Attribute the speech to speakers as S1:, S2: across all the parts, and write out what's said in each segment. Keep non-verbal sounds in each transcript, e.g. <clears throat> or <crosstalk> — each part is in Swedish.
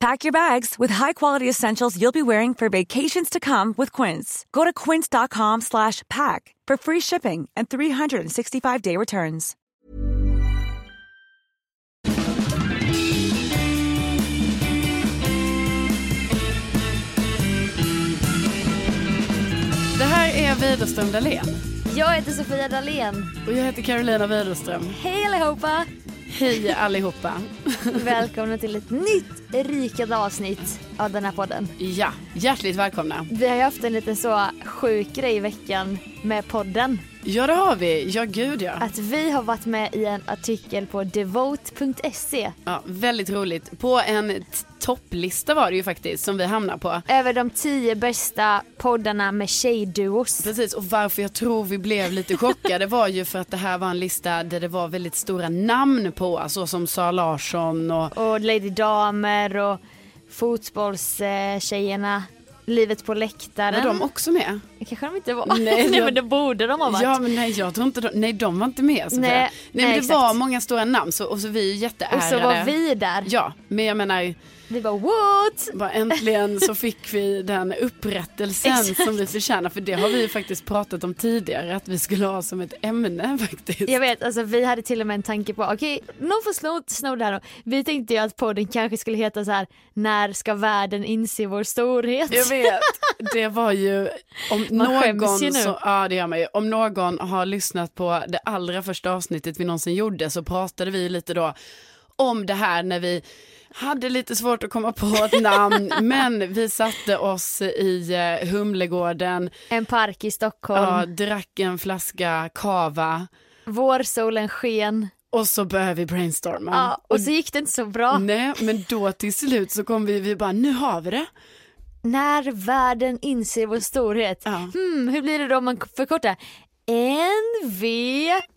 S1: Pack your bags with high-quality essentials you'll be wearing for vacations to come with Quince. Go to quince.com slash pack for free shipping and 365-day returns.
S2: Det här är Widerström Dahlén
S3: Jag heter Sofia Dalén.
S2: och jag heter Carolina Widerström.
S3: Hej allihopa!
S2: Hej
S3: <laughs>
S2: allihopa.
S3: Välkomna till ett nytt rikat avsnitt av den här podden.
S2: Ja, hjärtligt välkomna.
S3: Vi har ju haft en liten så sjuk grej i veckan med podden.
S2: Ja, det har vi. Ja, gud ja.
S3: Att vi har varit med i en artikel på devote.se
S2: ja väldigt roligt. På en t- topplista var det ju faktiskt som vi hamnar på.
S3: över de tio bästa poddarna med tjejduos.
S2: Precis, och varför jag tror vi blev lite chockade var ju för att det här var en lista där det var väldigt stora namn på, så som Sara Larsson och
S3: Och Lady Damer och fotbollstjejerna. Livet på
S2: var
S3: läktaren.
S2: de också med?
S3: Kanske de inte var.
S2: Nej,
S3: <laughs> Nej,
S2: jag-
S3: men det borde de ha varit.
S2: Ja men nej jag tror inte de, nej de var inte med. Sofia.
S3: Nej,
S2: nej men
S3: nej,
S2: det
S3: exakt.
S2: var många stora namn så, och så vi är ju jätteärade.
S3: och så var vi där.
S2: Ja men jag menar
S3: Vi bara what?
S2: bara äntligen så fick vi den upprättelsen
S3: Exakt.
S2: som vi förtjänar för det har vi ju faktiskt pratat om tidigare att vi skulle ha som ett ämne <laughs> faktiskt.
S3: Jag vet, alltså vi hade till och med en tanke på, okej, någon får sno, sno det här då. Vi tänkte ju att podden kanske skulle heta så här, när ska världen inse vår storhet?
S2: Jag vet, det var ju om
S3: Man
S2: någon,
S3: skäms ju nu.
S2: så, ja, det gör man ju. om någon har lyssnat på det allra första avsnittet vi någonsin gjorde så pratade vi lite då om det här när vi hade lite svårt att komma på
S3: <laughs>
S2: ett namn men vi satte oss i eh, Humlegården,
S3: En park i Stockholm,
S2: ja, drack en flaska kava
S3: vårsolen sken,
S2: och så började vi brainstorma.
S3: ja, Ah. och så gick det inte så bra.
S2: Nej men då till slut så kom vi, vi bara nu har vi det.
S3: När världen inser vår storhet.
S2: Ja.
S3: Hmm, hur blir det då om man förkortar?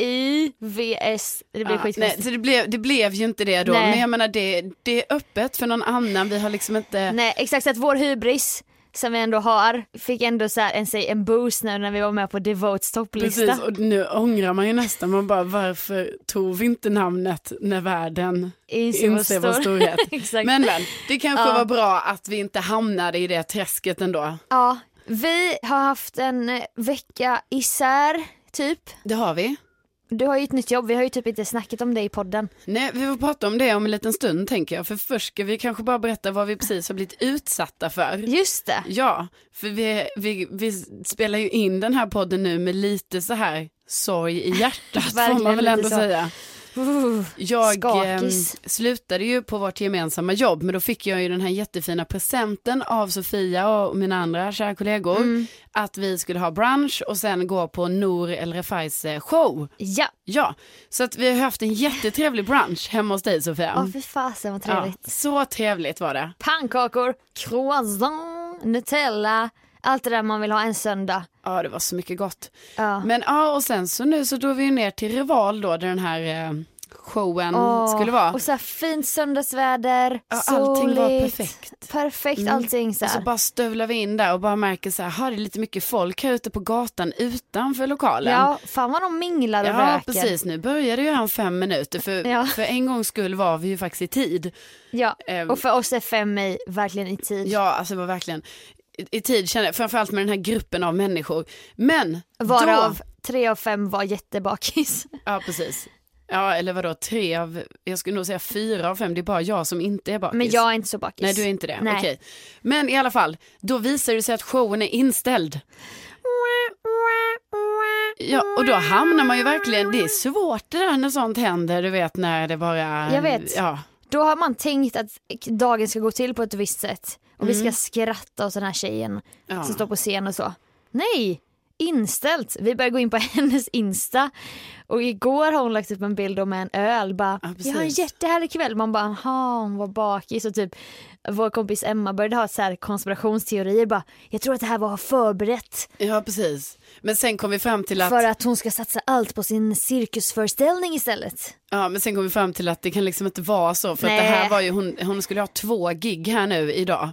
S3: N-V-I-V-S. Det blir
S2: Ja, Ah, nej,
S3: skitkonstigt.
S2: så det blev, det blev ju inte det då,
S3: Nej.
S2: men jag menar det, det är öppet för någon annan, vi har liksom inte,
S3: Nej, exakt så att vår hybris som vi ändå har fick ändå så här en, säg, en boost nu när vi var med på Devotes topplista.
S2: precis, och nu ångrar man ju nästan, man bara varför tog vi inte namnet när världen
S3: Inser vår
S2: inser vår
S3: stor-
S2: storhet.
S3: Exakt.
S2: men men, det kanske
S3: Ja.
S2: var bra att vi inte hamnade i det träsket ändå.
S3: <laughs> Ja, vi har haft en eh, vecka isär, typ.
S2: Det har vi.
S3: Du har ju ett nytt jobb, vi har ju typ inte snackat om det i podden.
S2: Nej, vi får prata om det om en liten stund tänker jag, för först ska vi kanske bara berätta vad vi precis har blivit utsatta för.
S3: Just det.
S2: Ja, för vi, vi, vi spelar ju in den här podden nu med lite så här sorg i
S3: <laughs>
S2: hjärtat får man
S3: Verkligen
S2: väl
S3: lite
S2: ändå
S3: så.
S2: säga.
S3: Uh,
S2: Jag eh,
S3: Skakis.
S2: slutade ju på vårt gemensamma jobb men då fick jag ju den här jättefina presenten av Sofia och mina andra kära kollegor
S3: Mm.
S2: att vi skulle ha brunch och sen gå på Nour El Refais eh, show.
S3: Ja,
S2: Ja, så att vi har haft en jättetrevlig brunch hemma hos dig Sofia.
S3: åh fy fasen vad
S2: Mm. ja,
S3: trevligt.
S2: så trevligt var det.
S3: Pannkakor, croissant, Nutella, allt det där man vill ha en söndag.
S2: Ja, det var så mycket gott.
S3: Ja.
S2: Men ja, och sen så nu så drog vi ju ner till Rival då, där den här eh, showen
S3: Åh,
S2: skulle vara.
S3: Och så här fint söndagsväder,
S2: Ja,
S3: soligt.
S2: allting var perfekt. Mm.
S3: Perfekt allting så
S2: Och så
S3: här.
S2: bara stövlar vi in där och bara märker så här, "Ha, det är lite mycket folk här ute på gatan utanför lokalen.
S3: Ja, fan vad de minglar och
S2: Ja,
S3: röker.
S2: precis. Nu började ju han fem minuter för,
S3: Ja.
S2: för en gångs skull var vi ju faktiskt i tid.
S3: Ja.
S2: Ehm.
S3: Och för oss är fem i verkligen i tid.
S2: Ja, alltså det var verkligen i, i tid kände jag, framförallt med den här gruppen av människor. Men
S3: Varav
S2: då,
S3: tre av fem var jättebakis. <laughs>
S2: ja precis. Ja, eller vadå, tre av, jag skulle nog säga fyra av fem, det är bara jag som inte är bakis.
S3: Men jag är inte så bakis.
S2: Nej, du är inte det.
S3: Nej.
S2: Okej. Men i alla fall, då visar det sig att showen är inställd. Ja, och då hamnar man ju verkligen, det är svårt det där när sånt händer, du vet när det bara...
S3: Jag vet.
S2: Ja,
S3: Då har man tänkt att dagen ska gå till på ett visst sätt. Och vi ska skratta åt den här tjejen
S2: Mm. Ja.
S3: som står på scen och så. Nej! Inställt. Vi börjar gå in på <laughs> hennes Insta. Och igår har hon lagt upp en bild om en öl. Bara,
S2: Ja, precis.
S3: jag har en jättehärlig kväll. Man bara, aha, hon var bakis. Och typ vår kompis Emma började ha så här konspirationsteorier. Bara, jag tror att det här var förberett.
S2: ja precis. Men sen kom vi fram till att...
S3: För att hon ska satsa allt på sin cirkusföreställning istället.
S2: Ja, men sen kom vi fram till att det kan liksom inte vara så. För att det
S3: Nej.
S2: här var ju, hon, hon skulle ha två gig här nu idag.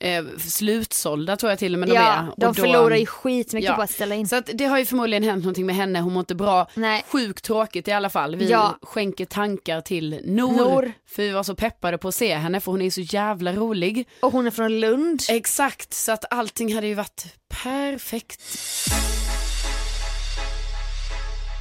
S2: Eh, slutsålda tror jag till och med de är.
S3: ja,
S2: Och
S3: de
S2: då-
S3: förlorar ju skitmycket
S2: Ja.
S3: på att ställa in.
S2: Så att det har ju förmodligen hänt någonting med henne, hon mår inte bra.
S3: Nej.
S2: Sjukt tråkigt i alla fall. Vi
S3: Ja.
S2: skänker tankar till Nor,
S3: Noor.
S2: För vi var så peppade på att se henne för hon är så jävla rolig.
S3: Och hon är från Lund.
S2: Exakt, så att allting hade ju varit perfekt.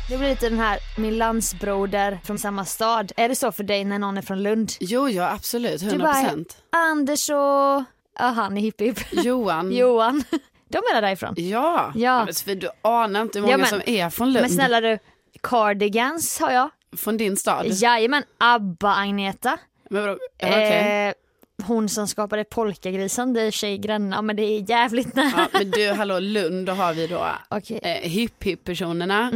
S3: Det blir lite den här min landsbroder från samma stad. Är det så för dig när någon är från Lund?
S2: Jo, ja absolut, 100%.
S3: Du bara, Anders och... Ja, han är hippie.
S2: Johan.
S3: Johan. De är där därifrån.
S2: Ja,
S3: Ja.
S2: Men Sofie, du anar inte hur många
S3: Ja, men-
S2: som är från Lund.
S3: Men snälla du, Cardigans har jag.
S2: Från din stad?
S3: Jajamän, ABBA-Agneta.
S2: Men vadå? Ja, okej.
S3: Eh, hon som skapade polkagrisen, det är i och för sig grannar men det är jävligt nära.
S2: ja, men du, hallå Lund, då har vi då
S3: <laughs> Okej, Mhm.
S2: eh, hipp hipp personerna,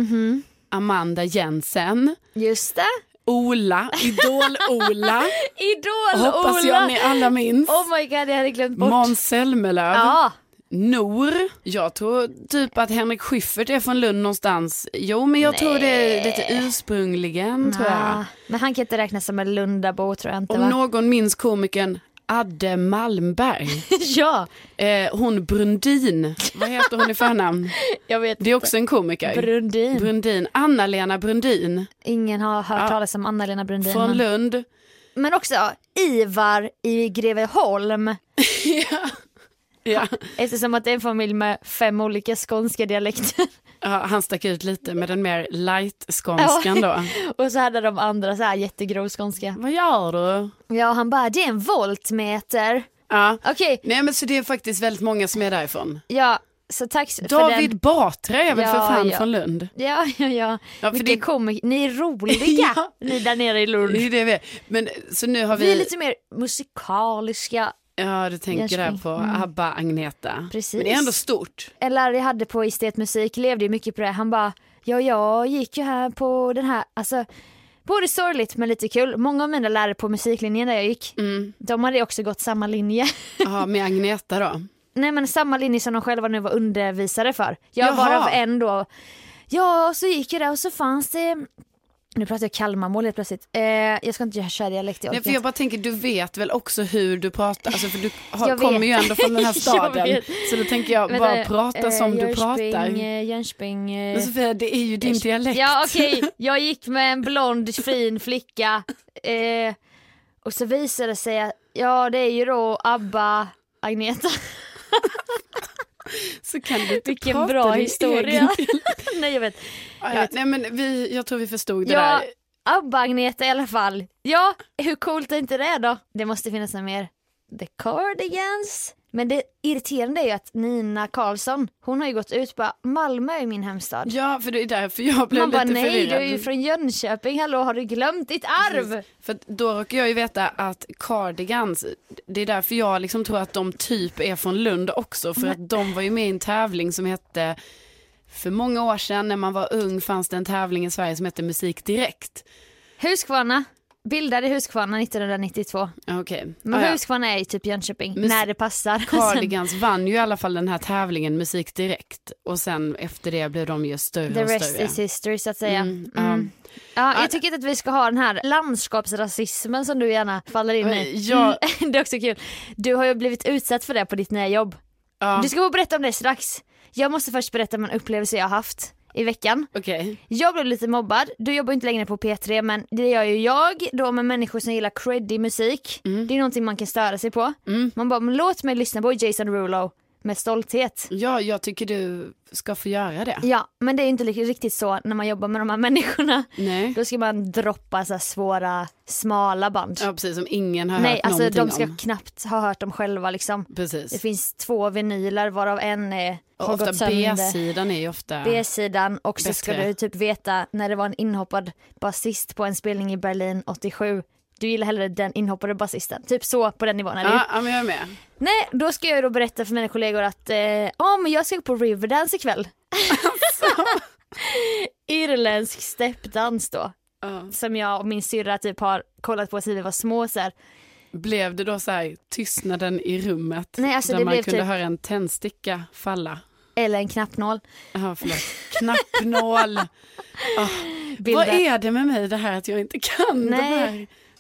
S2: Amanda Jensen,
S3: just det.
S2: Ola,
S3: <laughs>
S2: Idol-Ola,
S3: Idol-Ola!
S2: hoppas jag ni alla minns,
S3: Oh my god, jag hade glömt bort.
S2: Måns Zelmerlöw,
S3: ja,
S2: Nor, jag tror typ att Henrik Schyffert är från Lund någonstans, jo men jag tror det är lite ursprungligen tror jag.
S3: Ah, men han kan inte räknas som en Lundabo tror jag inte
S2: Om
S3: va?
S2: någon minns komikern Adde Malmberg,
S3: <laughs> ja,
S2: eh, hon Brundin, vad heter hon i förnamn?
S3: jag vet.
S2: Det är också en komiker.
S3: Brundin.
S2: Brundin, Anna-Lena Brundin
S3: Ingen har hört talas om Anna-Lena Brundin.
S2: från
S3: men- <laughs>
S2: Lund.
S3: Men också ja, Ivar i Greveholm.
S2: Ja.
S3: Eftersom att det är en familj med fem olika skånska dialekter.
S2: Ja, han stack ut lite med den mer
S3: <laughs>
S2: light-skånskan då.
S3: Och så hade de andra så här jättegrov skånska.
S2: Vad gör du?
S3: Ja, han bara, det är en voltmeter.
S2: Ja.
S3: Okej,
S2: Nej men så det är faktiskt väldigt många som är därifrån.
S3: ja, så tack s- för
S2: David
S3: den.
S2: Batra är väl
S3: Ja,
S2: för fan
S3: ja.
S2: från Lund?
S3: Ja, ja, ja.
S2: Ja, för
S3: Mycket
S2: det-
S3: komik-
S2: <laughs>
S3: Ni är roliga,
S2: Ja.
S3: ni där nere i
S2: Det är
S3: Lund.
S2: ju det vi är. Men så nu har vi...
S3: Vi är lite mer musikaliska.
S2: Ja du tänker där
S3: Jönköping.
S2: på Abba Agneta.
S3: Mm. Precis.
S2: Men det är ändå stort.
S3: en lärare jag hade på estetmusik levde ju mycket på det. Han bara, ja jag gick ju här på den här, alltså både sorgligt men lite kul. Många av mina lärare på musiklinjen där jag gick,
S2: Mm.
S3: de hade ju också gått samma linje. <laughs>
S2: Ja med Agneta då.
S3: Nej men samma linje som de själva nu var undervisare för. Jag
S2: Jaha.
S3: var av en då, ja och så gick jag där och så fanns det, nu pratar jag Kalmarmål helt plötsligt. Eh, jag ska inte göra köra dialekt, jag
S2: Nej,
S3: orkar
S2: för jag bara tänker, du vet väl också hur du pratar, alltså,
S3: <laughs>
S2: för du har,
S3: Jag
S2: kommer
S3: vet.
S2: ju ändå från den här
S3: <laughs> Jag
S2: staden.
S3: vet.
S2: Så då tänker jag,
S3: Vänta,
S2: bara prata
S3: eh,
S2: som du
S3: Jönköping,
S2: pratar.
S3: eh, Jönköping, eh,
S2: Men Sofia, det är ju din dialekt.
S3: Ja okej, jag gick med en blond fin flicka eh, och så visade det sig att ja det är ju då ABBA
S2: <laughs>
S3: Agneta.
S2: Så kan du inte
S3: Vilken
S2: prata
S3: bra
S2: din
S3: historia.
S2: <laughs> egen
S3: <laughs>
S2: dialekt.
S3: Nej jag vet.
S2: Ja, ja. Nej, men vi, jag tror vi förstod det
S3: Ja,
S2: där.
S3: ABBA Agneta i alla fall. Ja, hur coolt är inte det då? Det måste finnas något mer. The Cardigans. Men det irriterande är ju att Nina Karlsson, hon har ju gått ut bara Malmö är min hemstad.
S2: Ja, för det är därför jag blev
S3: Man bara
S2: lite
S3: nej du
S2: förvirrad.
S3: är ju från Jönköping, hallå har du glömt ditt arv?
S2: För att då råkar jag ju veta att Cardigans, det är därför jag liksom tror att de typ är från Lund också. För att de var ju med i en tävling som hette, för många år sedan när man var ung fanns det en tävling i Sverige som hette Musik Direkt.
S3: Huskvarna, Bildade Huskvarna 1992.
S2: Okej.
S3: Men
S2: Ah, ja.
S3: Huskvarna är ju typ Jönköping
S2: Mus-
S3: när det passar.
S2: Cardigans vann ju i alla fall den här tävlingen Musik Direkt och sen efter det blev de ju större
S3: Sen, the
S2: och
S3: rest
S2: större.
S3: is history så att säga.
S2: Mm, ja.
S3: Mm. Ja,
S2: Ah.
S3: jag tycker inte att vi ska ha den här landskapsrasismen som du gärna faller in i. Mm,
S2: Ja,
S3: <laughs> Det är också kul. Du har ju blivit utsatt för det på ditt nya jobb.
S2: ja.
S3: Du ska få berätta om det strax. Jag måste först berätta om en upplevelse jag har haft i veckan.
S2: Okej,
S3: Jag blev lite mobbad, du jobbar ju inte längre på P3 men det gör ju jag då med människor som gillar creddy musik.
S2: Mm.
S3: Det är någonting man kan störa sig på. Man bara, men låt mig lyssna på Jason Rulo med stolthet.
S2: ja, jag tycker du ska få göra det.
S3: Ja, men det är ju inte li- riktigt så när man jobbar med de här människorna.
S2: Nej,
S3: Då ska man droppa så här svåra, smala band.
S2: ja, precis som ingen har
S3: Nej,
S2: hört
S3: alltså
S2: någonting
S3: de ska
S2: om.
S3: knappt ha hört dem själva liksom. Det
S2: Precis.
S3: finns två vinyler varav en är,
S2: Och
S3: har
S2: ofta
S3: gått sönder.
S2: B-sidan är ju ofta...
S3: B-sidan och så ska
S2: Bättre.
S3: du typ veta när det var en inhoppad basist på en spelning i Berlin 87. Du gillar hellre den inhoppade basisten. Typ så på den nivån. Eller?
S2: Ja, ja, men jag är med.
S3: Nej, då ska jag då berätta för mina kollegor att eh, "Ja, men jag ska gå på Riverdance ikväll. <laughs> Irländsk steppdans då.
S2: Ja.
S3: Som jag och min syrra typ har kollat på sedan vi var små så här.
S2: Blev det då så här tystnaden i rummet
S3: Nej, alltså,
S2: där
S3: det
S2: man
S3: blev
S2: kunde
S3: typ-
S2: höra en tändsticka falla?
S3: Eller en knappnål.
S2: Ja,
S3: <laughs>
S2: förlåt. Knappnål. Vad
S3: Bilder.
S2: är det med mig det här att jag inte kan de
S3: Nej.
S2: här?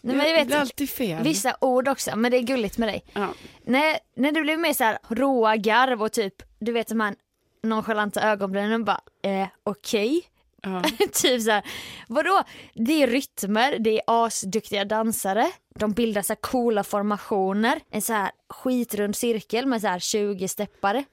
S3: Nej, men jag
S2: Det är
S3: vet,
S2: alltid fel.
S3: vissa ord också, men det är gulligt med dig.
S2: Ja.
S3: Nej, när det blev mer så här råa garv och typ, du vet de här nonchalanta ögonbrynen och bara, eh, okej.
S2: Ja.
S3: <laughs> typ så här, vadå? Det är rytmer, det är asduktiga dansare, de bildar så här coola formationer, en så här skitrund cirkel med så här 20 steppare.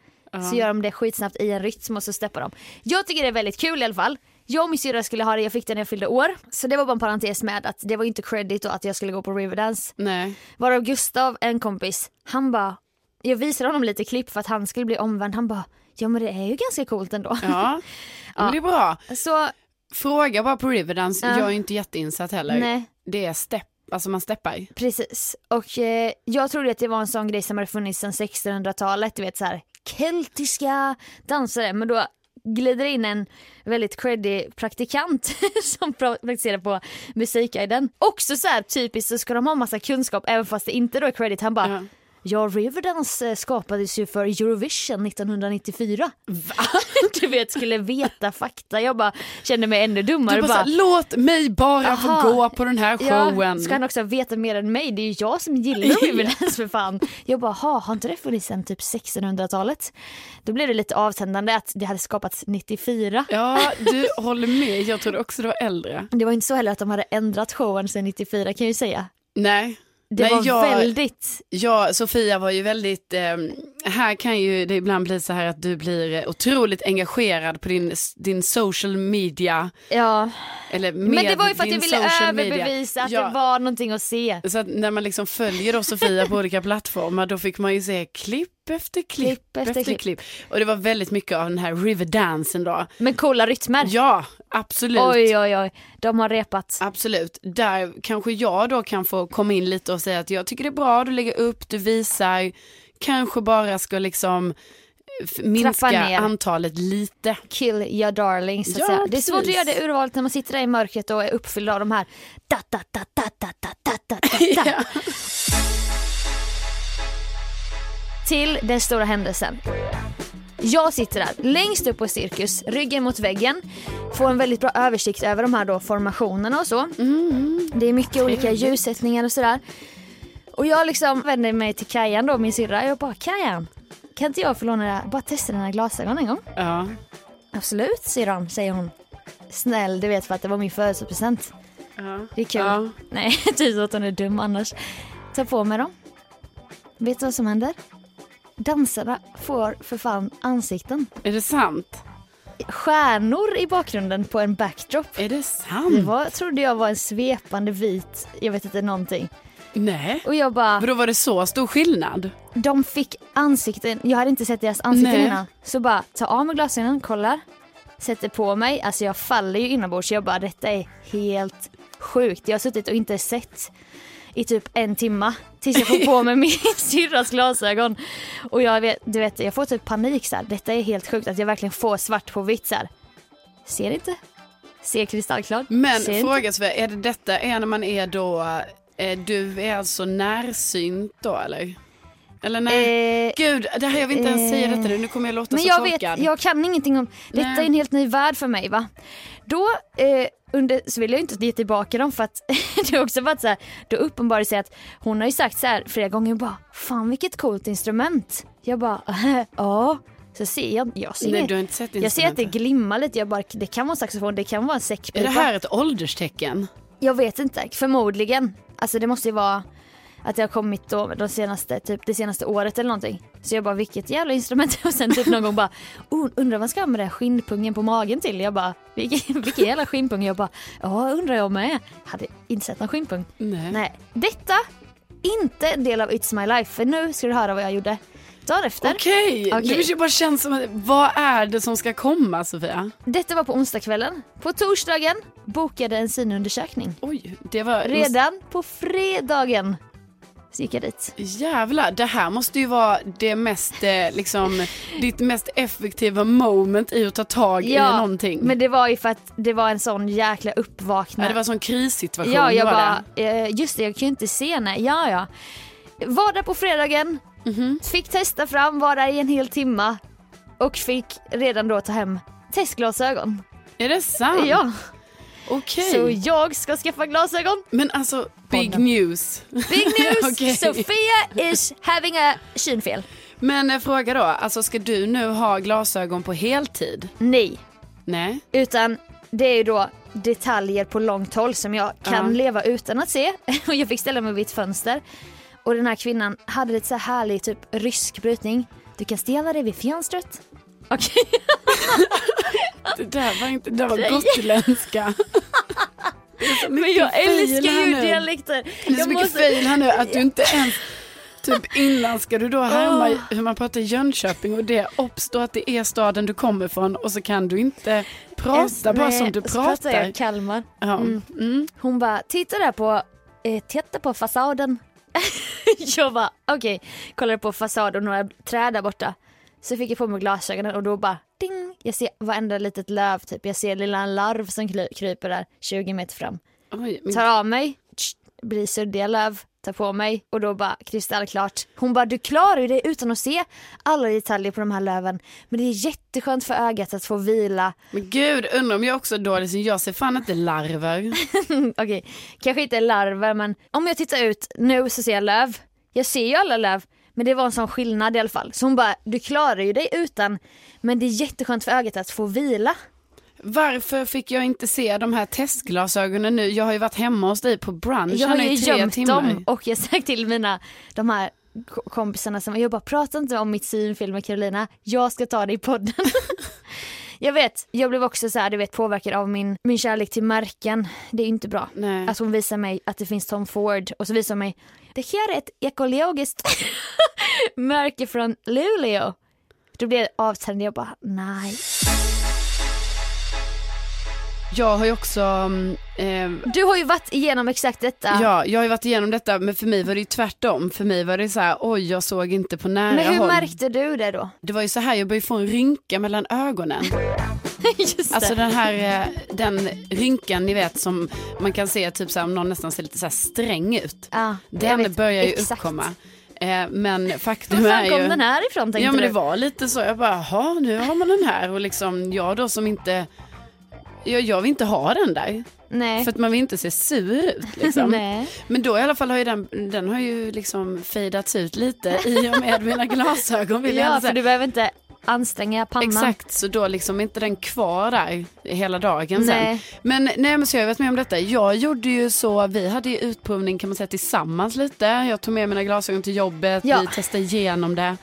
S3: Så gör de det skitsnabbt i en rytm och så steppar de. Jag tycker det är väldigt kul i alla fall. Jag och min syrra skulle ha det, jag fick den när jag fyllde år. Så det var bara en parentes med att det var inte credit och att jag skulle gå på Riverdance.
S2: Nej.
S3: Varav Gustav, en kompis, han bara, jag visade honom lite klipp för att han skulle bli omvänd, han bara, ja men det är ju ganska coolt ändå.
S2: Ja. Men det är bra.
S3: <laughs> Så,
S2: Fråga bara på Riverdance,
S3: Ja.
S2: jag är ju inte jätteinsatt heller.
S3: nej,
S2: Det är stepp, alltså man steppar.
S3: precis. Och eh, jag trodde att det var en sån grej som hade funnits sedan 1600-talet, du vet så här keltiska dansare, men då glider in en väldigt creddig praktikant <laughs> som pra- praktiserar på Musikguiden. Också så här typiskt så ska de ha massa kunskap även fast det inte då är credit. Han bara,
S2: Ja.
S3: Ja, Riverdance eh, skapades ju för Eurovision 1994. <laughs> du vet, skulle veta fakta. Jag bara kände mig ännu dummare.
S2: Du bara, Typ så här, låt mig bara
S3: Jaha.
S2: få gå på den här
S3: ja,
S2: showen.
S3: ska han också veta mer än mig? Det är ju jag
S2: <laughs>
S3: som gillar Riverdance för fan. Jag bara, ha, har inte det funnits sedan typ 1600-talet? Då blev det lite avsändande att det hade skapats 94.
S2: Ja, du håller med. Jag trodde också det var äldre.
S3: Det var inte så heller att de hade ändrat showen sedan 94 kan jag ju säga.
S2: Nej.
S3: Det
S2: Nej,
S3: var
S2: jag,
S3: väldigt,
S2: jag, Sofia var ju väldigt, eh, här kan ju det ibland bli så här att du blir eh, otroligt engagerad på din, din social media.
S3: ja.
S2: Eller med
S3: Men det var ju för att
S2: din
S3: jag ville
S2: social media.
S3: överbevisa att
S2: Ja.
S3: det var någonting att se.
S2: Så att när man liksom följer då Sofia på olika plattformar då fick man ju se klipp efter klipp,
S3: Klipp efter
S2: efter, klipp.
S3: klipp.
S2: Och det var väldigt mycket av den här riverdansen då.
S3: Men coola rytmer.
S2: Ja, absolut.
S3: Oj oj oj, de har repat.
S2: Absolut, där kanske jag då kan få komma in lite och säga att jag tycker det är bra, du lägger upp, du visar, kanske bara ska liksom f- minska
S3: ner.
S2: antalet
S3: <laughs>
S2: lite.
S3: Kill your darling så att
S2: Ja,
S3: säga. Det är svårt att
S2: precis.
S3: göra det urvalet när man sitter där i mörkret och är uppfylld av de här da da da da da da da
S2: <laughs>
S3: da da da. Till den stora händelsen. Jag sitter där längst upp på cirkus, ryggen mot väggen. Får en väldigt bra översikt över de här då formationerna och så.
S2: Mm-hmm.
S3: Det är mycket olika ljussättningar och sådär. Och jag liksom vänder mig till Kajan då, min syrra. Jag bara, Kajan, kan inte jag få låna det här? Bara testa dina glasögon en gång.
S2: Ja,
S3: Absolut syrran, säger hon. Snäll, du vet för att det var min födelsedagspresent.
S2: ja.
S3: Det är kul.
S2: Ja.
S3: Nej, <laughs> typ att hon är dum annars. Ta på mig dem. Vet du vad som händer? Dansarna får för fan ansikten.
S2: Är det sant?
S3: Stjärnor i bakgrunden på en backdrop.
S2: Är det sant?
S3: Det var, trodde jag var en svepande vit, jag vet inte någonting.
S2: Nej.
S3: Och jag bara,
S2: För då var det så stor skillnad?
S3: de fick ansikten, jag hade inte sett deras ansikten
S2: Nej.
S3: innan. Så bara, ta av mig glasögonen, kollar, sätter på mig, alltså jag faller ju inombords. Jag bara, detta är helt sjukt. Jag har suttit och inte sett i typ en timma tills jag får
S2: <laughs>
S3: på mig min syrras glasögon. Och jag vet, du vet, jag får typ panik så här. detta är helt sjukt att jag verkligen får svart på vitt så här. Ser inte, Ser kristallklart.
S2: Men
S3: Ser inte.
S2: fråga Sofia, är det detta är när man är då, eh, du är alltså närsynt då eller? Eller nej?
S3: Eh,
S2: Gud, det här, jag vill inte ens säga
S3: eh,
S2: detta nu, nu kommer jag låta
S3: Men
S2: så
S3: jag
S2: korkad.
S3: vet, jag kan ingenting om, detta
S2: Nej.
S3: är en helt ny värld för mig va. Då eh, under, så vill jag ju inte ge tillbaka dem för att <laughs> det har också varit så här, då uppenbarade det sig att hon har ju sagt så här flera gånger hon bara, fan vilket coolt instrument. Jag bara, <laughs> ja. Så ser jag, jag ser,
S2: Nej, du har inte sett
S3: jag ser att det
S2: instrumentet.
S3: glimmar lite, jag bara, det kan vara en saxofon, det kan vara en säckpipa.
S2: Är det här ett ålderstecken?
S3: Jag vet inte, förmodligen. Alltså det måste ju vara att det har kommit då, de senaste, typ det senaste året eller någonting. Så jag bara, vilket jävla instrument? <laughs> Och sen typ någon gång bara, oh, undrar vad man ska ha med den här skinnpungen på magen till? Jag bara, vilken, <laughs> vilken jävla skinnpung? Jag bara, ja undrar jag med. Hade inte sett någon skinnpung.
S2: Nej.
S3: Nej, detta, inte en del av It's My Life. För nu ska du höra vad jag gjorde. Dagen efter.
S2: Okej,
S3: Okej.
S2: det bara känns som att, vad är det som ska komma Sofia?
S3: Detta var på onsdagskvällen. På torsdagen bokade en synundersökning.
S2: Oj, det var...
S3: Redan på fredagen så gick jag dit.
S2: Jävlar, det här måste ju vara det mest, eh, liksom, ditt mest effektiva moment i att ta tag i någonting.
S3: men det var ju för att det var en sån jäkla
S2: ja,
S3: uppvaknande.
S2: det var en sån krissituation.
S3: ja, jag
S2: var
S3: bara,
S2: det.
S3: eh, just det jag kan ju inte se nej, ja ja. Var där på fredagen,
S2: Mhm.
S3: fick testa fram, var där i en hel timma och fick redan då ta hem testglasögon.
S2: Är det sant?
S3: Ja,
S2: Ah, Okej.
S3: så jag ska skaffa glasögon.
S2: Men alltså, big
S3: Podden.
S2: news. <laughs>
S3: Big news!
S2: Okej.
S3: Sofia is having a synfel.
S2: Men eh, fråga då, alltså ska du nu ha glasögon på heltid?
S3: Nej,
S2: Nej.
S3: Utan det är ju då detaljer på långt håll som jag kan
S2: Ja.
S3: leva utan att se. <laughs> Och jag fick ställa mig vid ett fönster. Och den här kvinnan hade lite så här härlig typ rysk brytning. Du kan ställa dig vid fönstret. Okej,
S2: Det där var inte, det där var gotländska.
S3: <laughs> men jag
S2: fail
S3: älskar
S2: här
S3: ju
S2: nu.
S3: dialekter.
S2: Det är så
S3: Jag
S2: mycket fail här nu att du inte ens Typ innan ska du då härma
S3: Åh.
S2: hur man pratar i Jönköping och det uppstår att det är staden du kommer ifrån och så kan du inte prata bara
S3: Nej,
S2: som du
S3: och så pratar
S2: pratar.
S3: jag Kalmar.
S2: Ja. Mm.
S3: Hon bara, titta där på, eh, titta på fasaden. <laughs> jag bara, okej, kollade på fasad och några träd där borta. Så fick jag på mig glasögonen och då bara, ding, jag ser varenda litet löv typ. Jag ser lilla larv som kly- kryper där 20 meter fram.
S2: Oj, men,
S3: Tar av mig, tsch, blir suddiga löv, tar på mig och då bara kristallklart. Hon bara, du klarar ju det utan att se alla detaljer på de här löven. Men det är jätteskönt för ögat att få vila.
S2: men gud, undrar om jag också är dålig som jag ser fan inte larver.
S3: Okej, kanske inte larver men om jag tittar ut nu så ser jag löv. Jag ser ju alla löv men det var en sån skillnad i alla fall. Så hon bara, du klarar ju dig utan men det är jätteskönt för ögat att få vila.
S2: Varför fick jag inte se de här testglasögonen nu? Jag har ju varit hemma hos dig på brunch
S3: Jag har
S2: här nu
S3: ju
S2: i tre
S3: gömt
S2: timmar.
S3: dem och jag har sagt till mina, de här k- kompisarna som jag bara prata inte om mitt synfel med Carolina, jag ska ta det i podden. <laughs> jag vet, jag blev också så här, du vet påverkad av min, min kärlek till märken, det är ju inte bra.
S2: Nej.
S3: Att hon visar mig att det finns Tom Ford och så visar hon mig det här är ett ekologiskt <laughs> märke från Luleå. Då blev jag avtänd jag bara nej.
S2: Jag har ju också mm, eh,
S3: Du har ju varit igenom exakt detta.
S2: Ja, jag har ju varit igenom detta men för mig var det ju tvärtom. För mig var det så här, oj jag såg inte på nära
S3: Men hur
S2: håll.
S3: märkte du det då? <laughs>
S2: Det var ju så här, jag började få en rynka mellan ögonen.
S3: Just det.
S2: Alltså den här eh, den rynkan ni vet som man kan se typ så här, om någon nästan ser lite så här sträng ut.
S3: Ja, Ah. jag
S2: den
S3: vet
S2: börjar ju
S3: exakt.
S2: uppkomma. Eh, men
S3: Var
S2: faktum är
S3: fan
S2: ju...
S3: kom den här ifrån tänkte
S2: Ja men
S3: du?
S2: det var lite så, jag bara, jaha nu har man den här och liksom jag då som inte, jag, jag vill inte ha den där.
S3: Nej.
S2: För att man vill inte se sur ut liksom.
S3: <laughs> Nej.
S2: Men då i alla fall har ju den, den har ju liksom fejdats ut lite i och med mina glasögon vill jag
S3: Ja,
S2: ändå
S3: för
S2: säga.
S3: du behöver inte anstränga pannan.
S2: Exakt, så då liksom är inte den kvar där hela dagen
S3: Nej.
S2: sen. Men nej men så jag har varit med om detta. Jag gjorde ju så, vi hade ju utprovning kan man säga tillsammans lite. Jag tog med mina glasögon till jobbet,
S3: Ja. Mm.
S2: vi testade igenom det.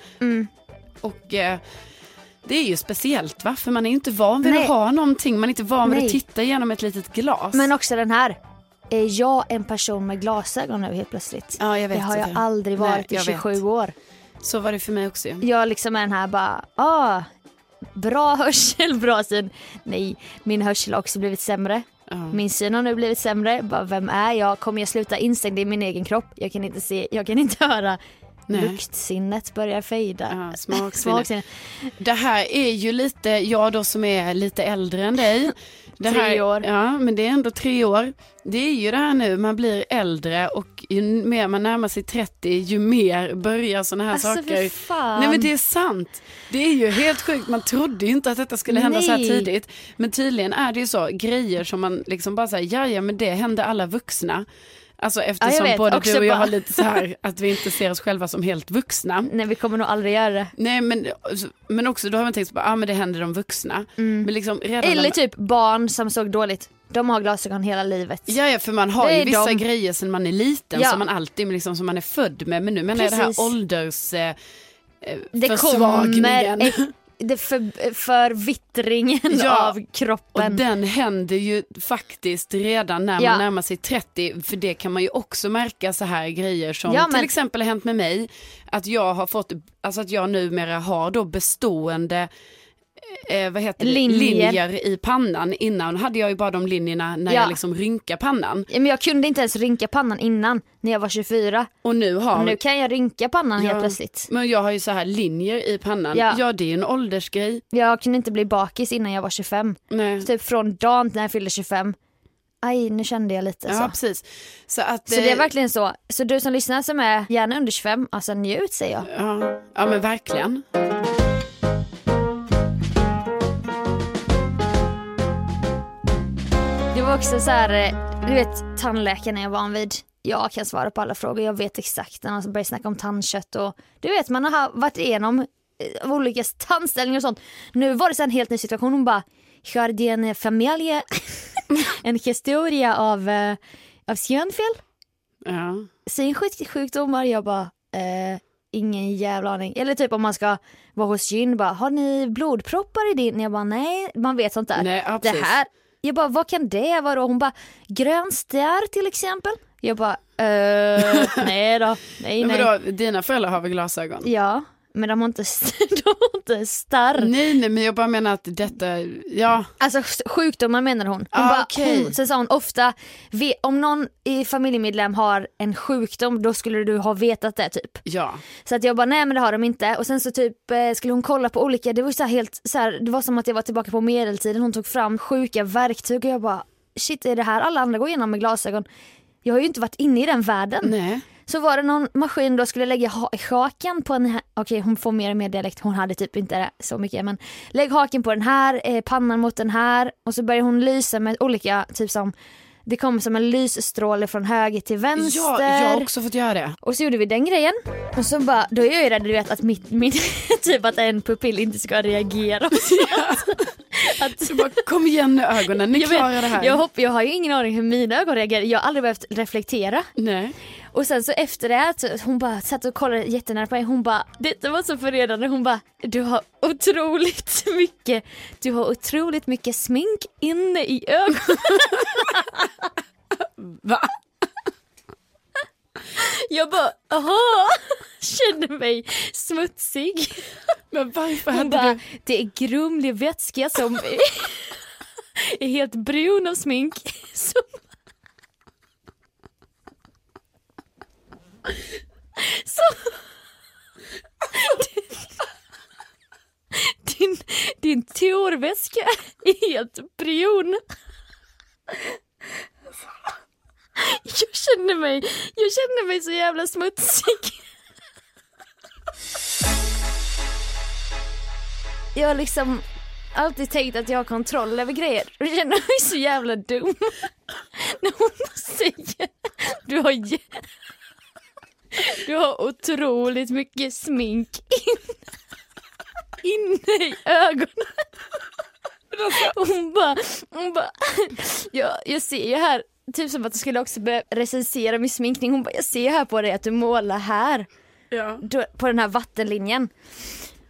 S2: Och eh, det är ju speciellt va, för man är ju inte van vid
S3: Nej.
S2: att ha någonting. Man är inte van vid
S3: Nej.
S2: att titta genom ett litet glas.
S3: Men också den här. Är jag en person med glasögon nu helt plötsligt?
S2: Ja, jag vet
S3: det har jag
S2: det.
S3: aldrig
S2: Nej,
S3: varit i
S2: jag vet.
S3: 27 år.
S2: Så var det för mig också ju.
S3: Jag liksom är den här bara, ah, bra hörsel, <laughs> bra syn. Nej, min hörsel har också blivit sämre. Min syn har nu blivit sämre. Bara, vem är jag? Kommer jag sluta instängd i min egen kropp? Jag kan inte <laughs> se, jag kan inte höra.
S2: Nej.
S3: luktsinnet börjar fejda.
S2: Ja, smaksinne.
S3: Smaksinne.
S2: Det här är ju lite, jag då som är lite äldre än
S3: <laughs>
S2: dig. Det
S3: Tre
S2: här,
S3: år.
S2: Ja, men det är ändå tre år. Det är ju det här nu, man blir äldre och ju mer man närmar sig 30 ju mer börjar sådana här
S3: Alltså, fy
S2: saker.
S3: fan.
S2: Nej men det är sant. Det är ju helt sjukt, man trodde ju inte att detta skulle hända så här
S3: Nej.
S2: tidigt. Men tydligen är det ju så, grejer som man liksom bara säger, ja ja men det händer alla vuxna. Alltså eftersom
S3: vet.
S2: både
S3: Också
S2: du och jag
S3: bara-
S2: har lite så här att vi inte ser oss själva som helt vuxna.
S3: Nej vi kommer nog aldrig göra det.
S2: Nej men, men också då har man tänkt så bara, ah, men det händer de vuxna. Men liksom redan
S3: Mm. Eller
S2: när-
S3: typ barn som såg dåligt. De har glasögon hela livet.
S2: Ja, ja för man har
S3: Det
S2: ju
S3: är
S2: vissa
S3: de.
S2: grejer sen man är liten
S3: Ja.
S2: som man alltid liksom, som man är född med. Men nu menar jag det
S3: Precis.
S2: här ålders... Eh,
S3: det
S2: försvagningen.
S3: kommer eh, det för, förvittringen
S2: Ja,
S3: av
S2: och
S3: kroppen.
S2: den händer ju faktiskt redan när man
S3: Ja.
S2: närmar sig 30. För det kan man ju också märka så här grejer som
S3: Ja,
S2: till
S3: men-
S2: exempel har hänt med mig. Att jag har fått, alltså att jag numera har då bestående eh, vad heter det?
S3: Linjer.
S2: linjer i pannan. Innan hade jag ju bara de linjerna när
S3: Ja.
S2: jag liksom rynkar pannan.
S3: Ja, Men jag kunde inte ens rynka pannan innan när jag var 24.
S2: Och nu har...
S3: Nu kan jag rynka pannan
S2: Ja.
S3: helt plötsligt.
S2: Men jag har ju så här linjer i pannan. Ja,
S3: Ja.
S2: det är ju en åldersgrej.
S3: Jag kunde inte bli bakis innan jag var 25.
S2: Nej.
S3: Typ från dagen när jag fyllde 25. Aj, nu kände jag lite
S2: Ja,
S3: så.
S2: precis. Så, att,
S3: Så det är
S2: eh,
S3: verkligen så. Så du som lyssnar som är gärna under 25, alltså njut säger jag.
S2: Ja, ja men verkligen.
S3: Det var också så här, eh, du vet tandläkaren är jag van vid. Jag kan svara på alla frågor, jag vet exakt när man börjar snacka om tandkött och du vet man har varit igenom eh, olika tandställningar och sånt. Nu var det så här en helt ny situation, hon bara Jardin familje, <laughs> en historia av, eh, av könfel,
S2: Ja.
S3: synsjukdomar. Jag bara eh, ingen jävla aning. Eller typ om man ska vara hos gyn, bara har ni blodproppar i din? Jag bara nej, man vet sånt där
S2: Nej, ja,
S3: det
S2: precis.
S3: här. Jag bara, vad kan det vara? Och Hon bara, grön stjär till exempel. Jag bara,
S2: <laughs>
S3: eh, nej då, nej
S2: Men
S3: nej.
S2: Vadå, dina föräldrar har väl glasögon?
S3: Ja, men de har inte, <laughs> de har inte starr.
S2: Nej, nej, men jag bara menar att detta, ja,
S3: Alltså s- sjukdomar menar hon. hon
S2: Ah,
S3: bara,
S2: okej.
S3: hon sen sa hon ofta, "Ve- om någon i familjemedlem har en sjukdom då skulle du ha vetat det typ.
S2: ja.
S3: Så att jag bara nej men det har de inte och sen så typ eh, skulle hon kolla på olika, det var ju så här helt så här, det var som att jag var tillbaka på medeltiden, hon tog fram sjuka verktyg och jag bara shit är det här alla andra går igenom med glasögon? Jag har ju inte varit inne i den världen.
S2: Nej.
S3: Så var det någon maskin då skulle lägga ha- haken på den här, okej hon får mer och mer dialekt, hon hade typ inte så mycket men lägg haken på den här, eh, pannan mot den här och så börjar hon lysa med olika, typ som det kom som en lysstråle från höger till vänster.
S2: Ja, jag har också fått göra det.
S3: Och så gjorde vi den grejen. Och så bara, då är jag ju rädd du vet att mitt, <laughs> min, typ att en pupill inte ska reagera. och sånt. att,
S2: Du bara, kom igen nu ögonen, ni
S3: jag,
S2: klarar det här.
S3: vet, jag, hopp, jag har ju ingen aning hur mina ögon reagerar, jag har aldrig behövt reflektera.
S2: Nej.
S3: Och sen så efter det, här, så, hon bara satt och kollade jättenära på mig, hon bara, detta var så förnedrande, hon bara, du har otroligt <laughs> mycket, du har otroligt mycket smink inne i ögonen.
S2: Va?
S3: Jag bara, aha, <laughs> kände mig smutsig.
S2: Men varför
S3: Hon
S2: hade
S3: bara,
S2: du?
S3: det är grumlig vätska som <laughs> är helt brun av smink. <laughs> Som... som... <laughs> din, din torväska är helt brun. Jag känner mig, jag känner mig så jävla smutsig. jag har liksom alltid tänkt att jag har kontroll över grejer. Och jag känner mig så jävla dum. <laughs> När hon säger du har, jä- du har otroligt mycket smink in- inne i ögonen. Hon bara, hon bara, jag, jag ser ju här, typ som att du skulle också börja recensera min sminkning. Hon bara, jag ser ju här på dig att du målar här
S2: Ja.
S3: då- på den här vattenlinjen.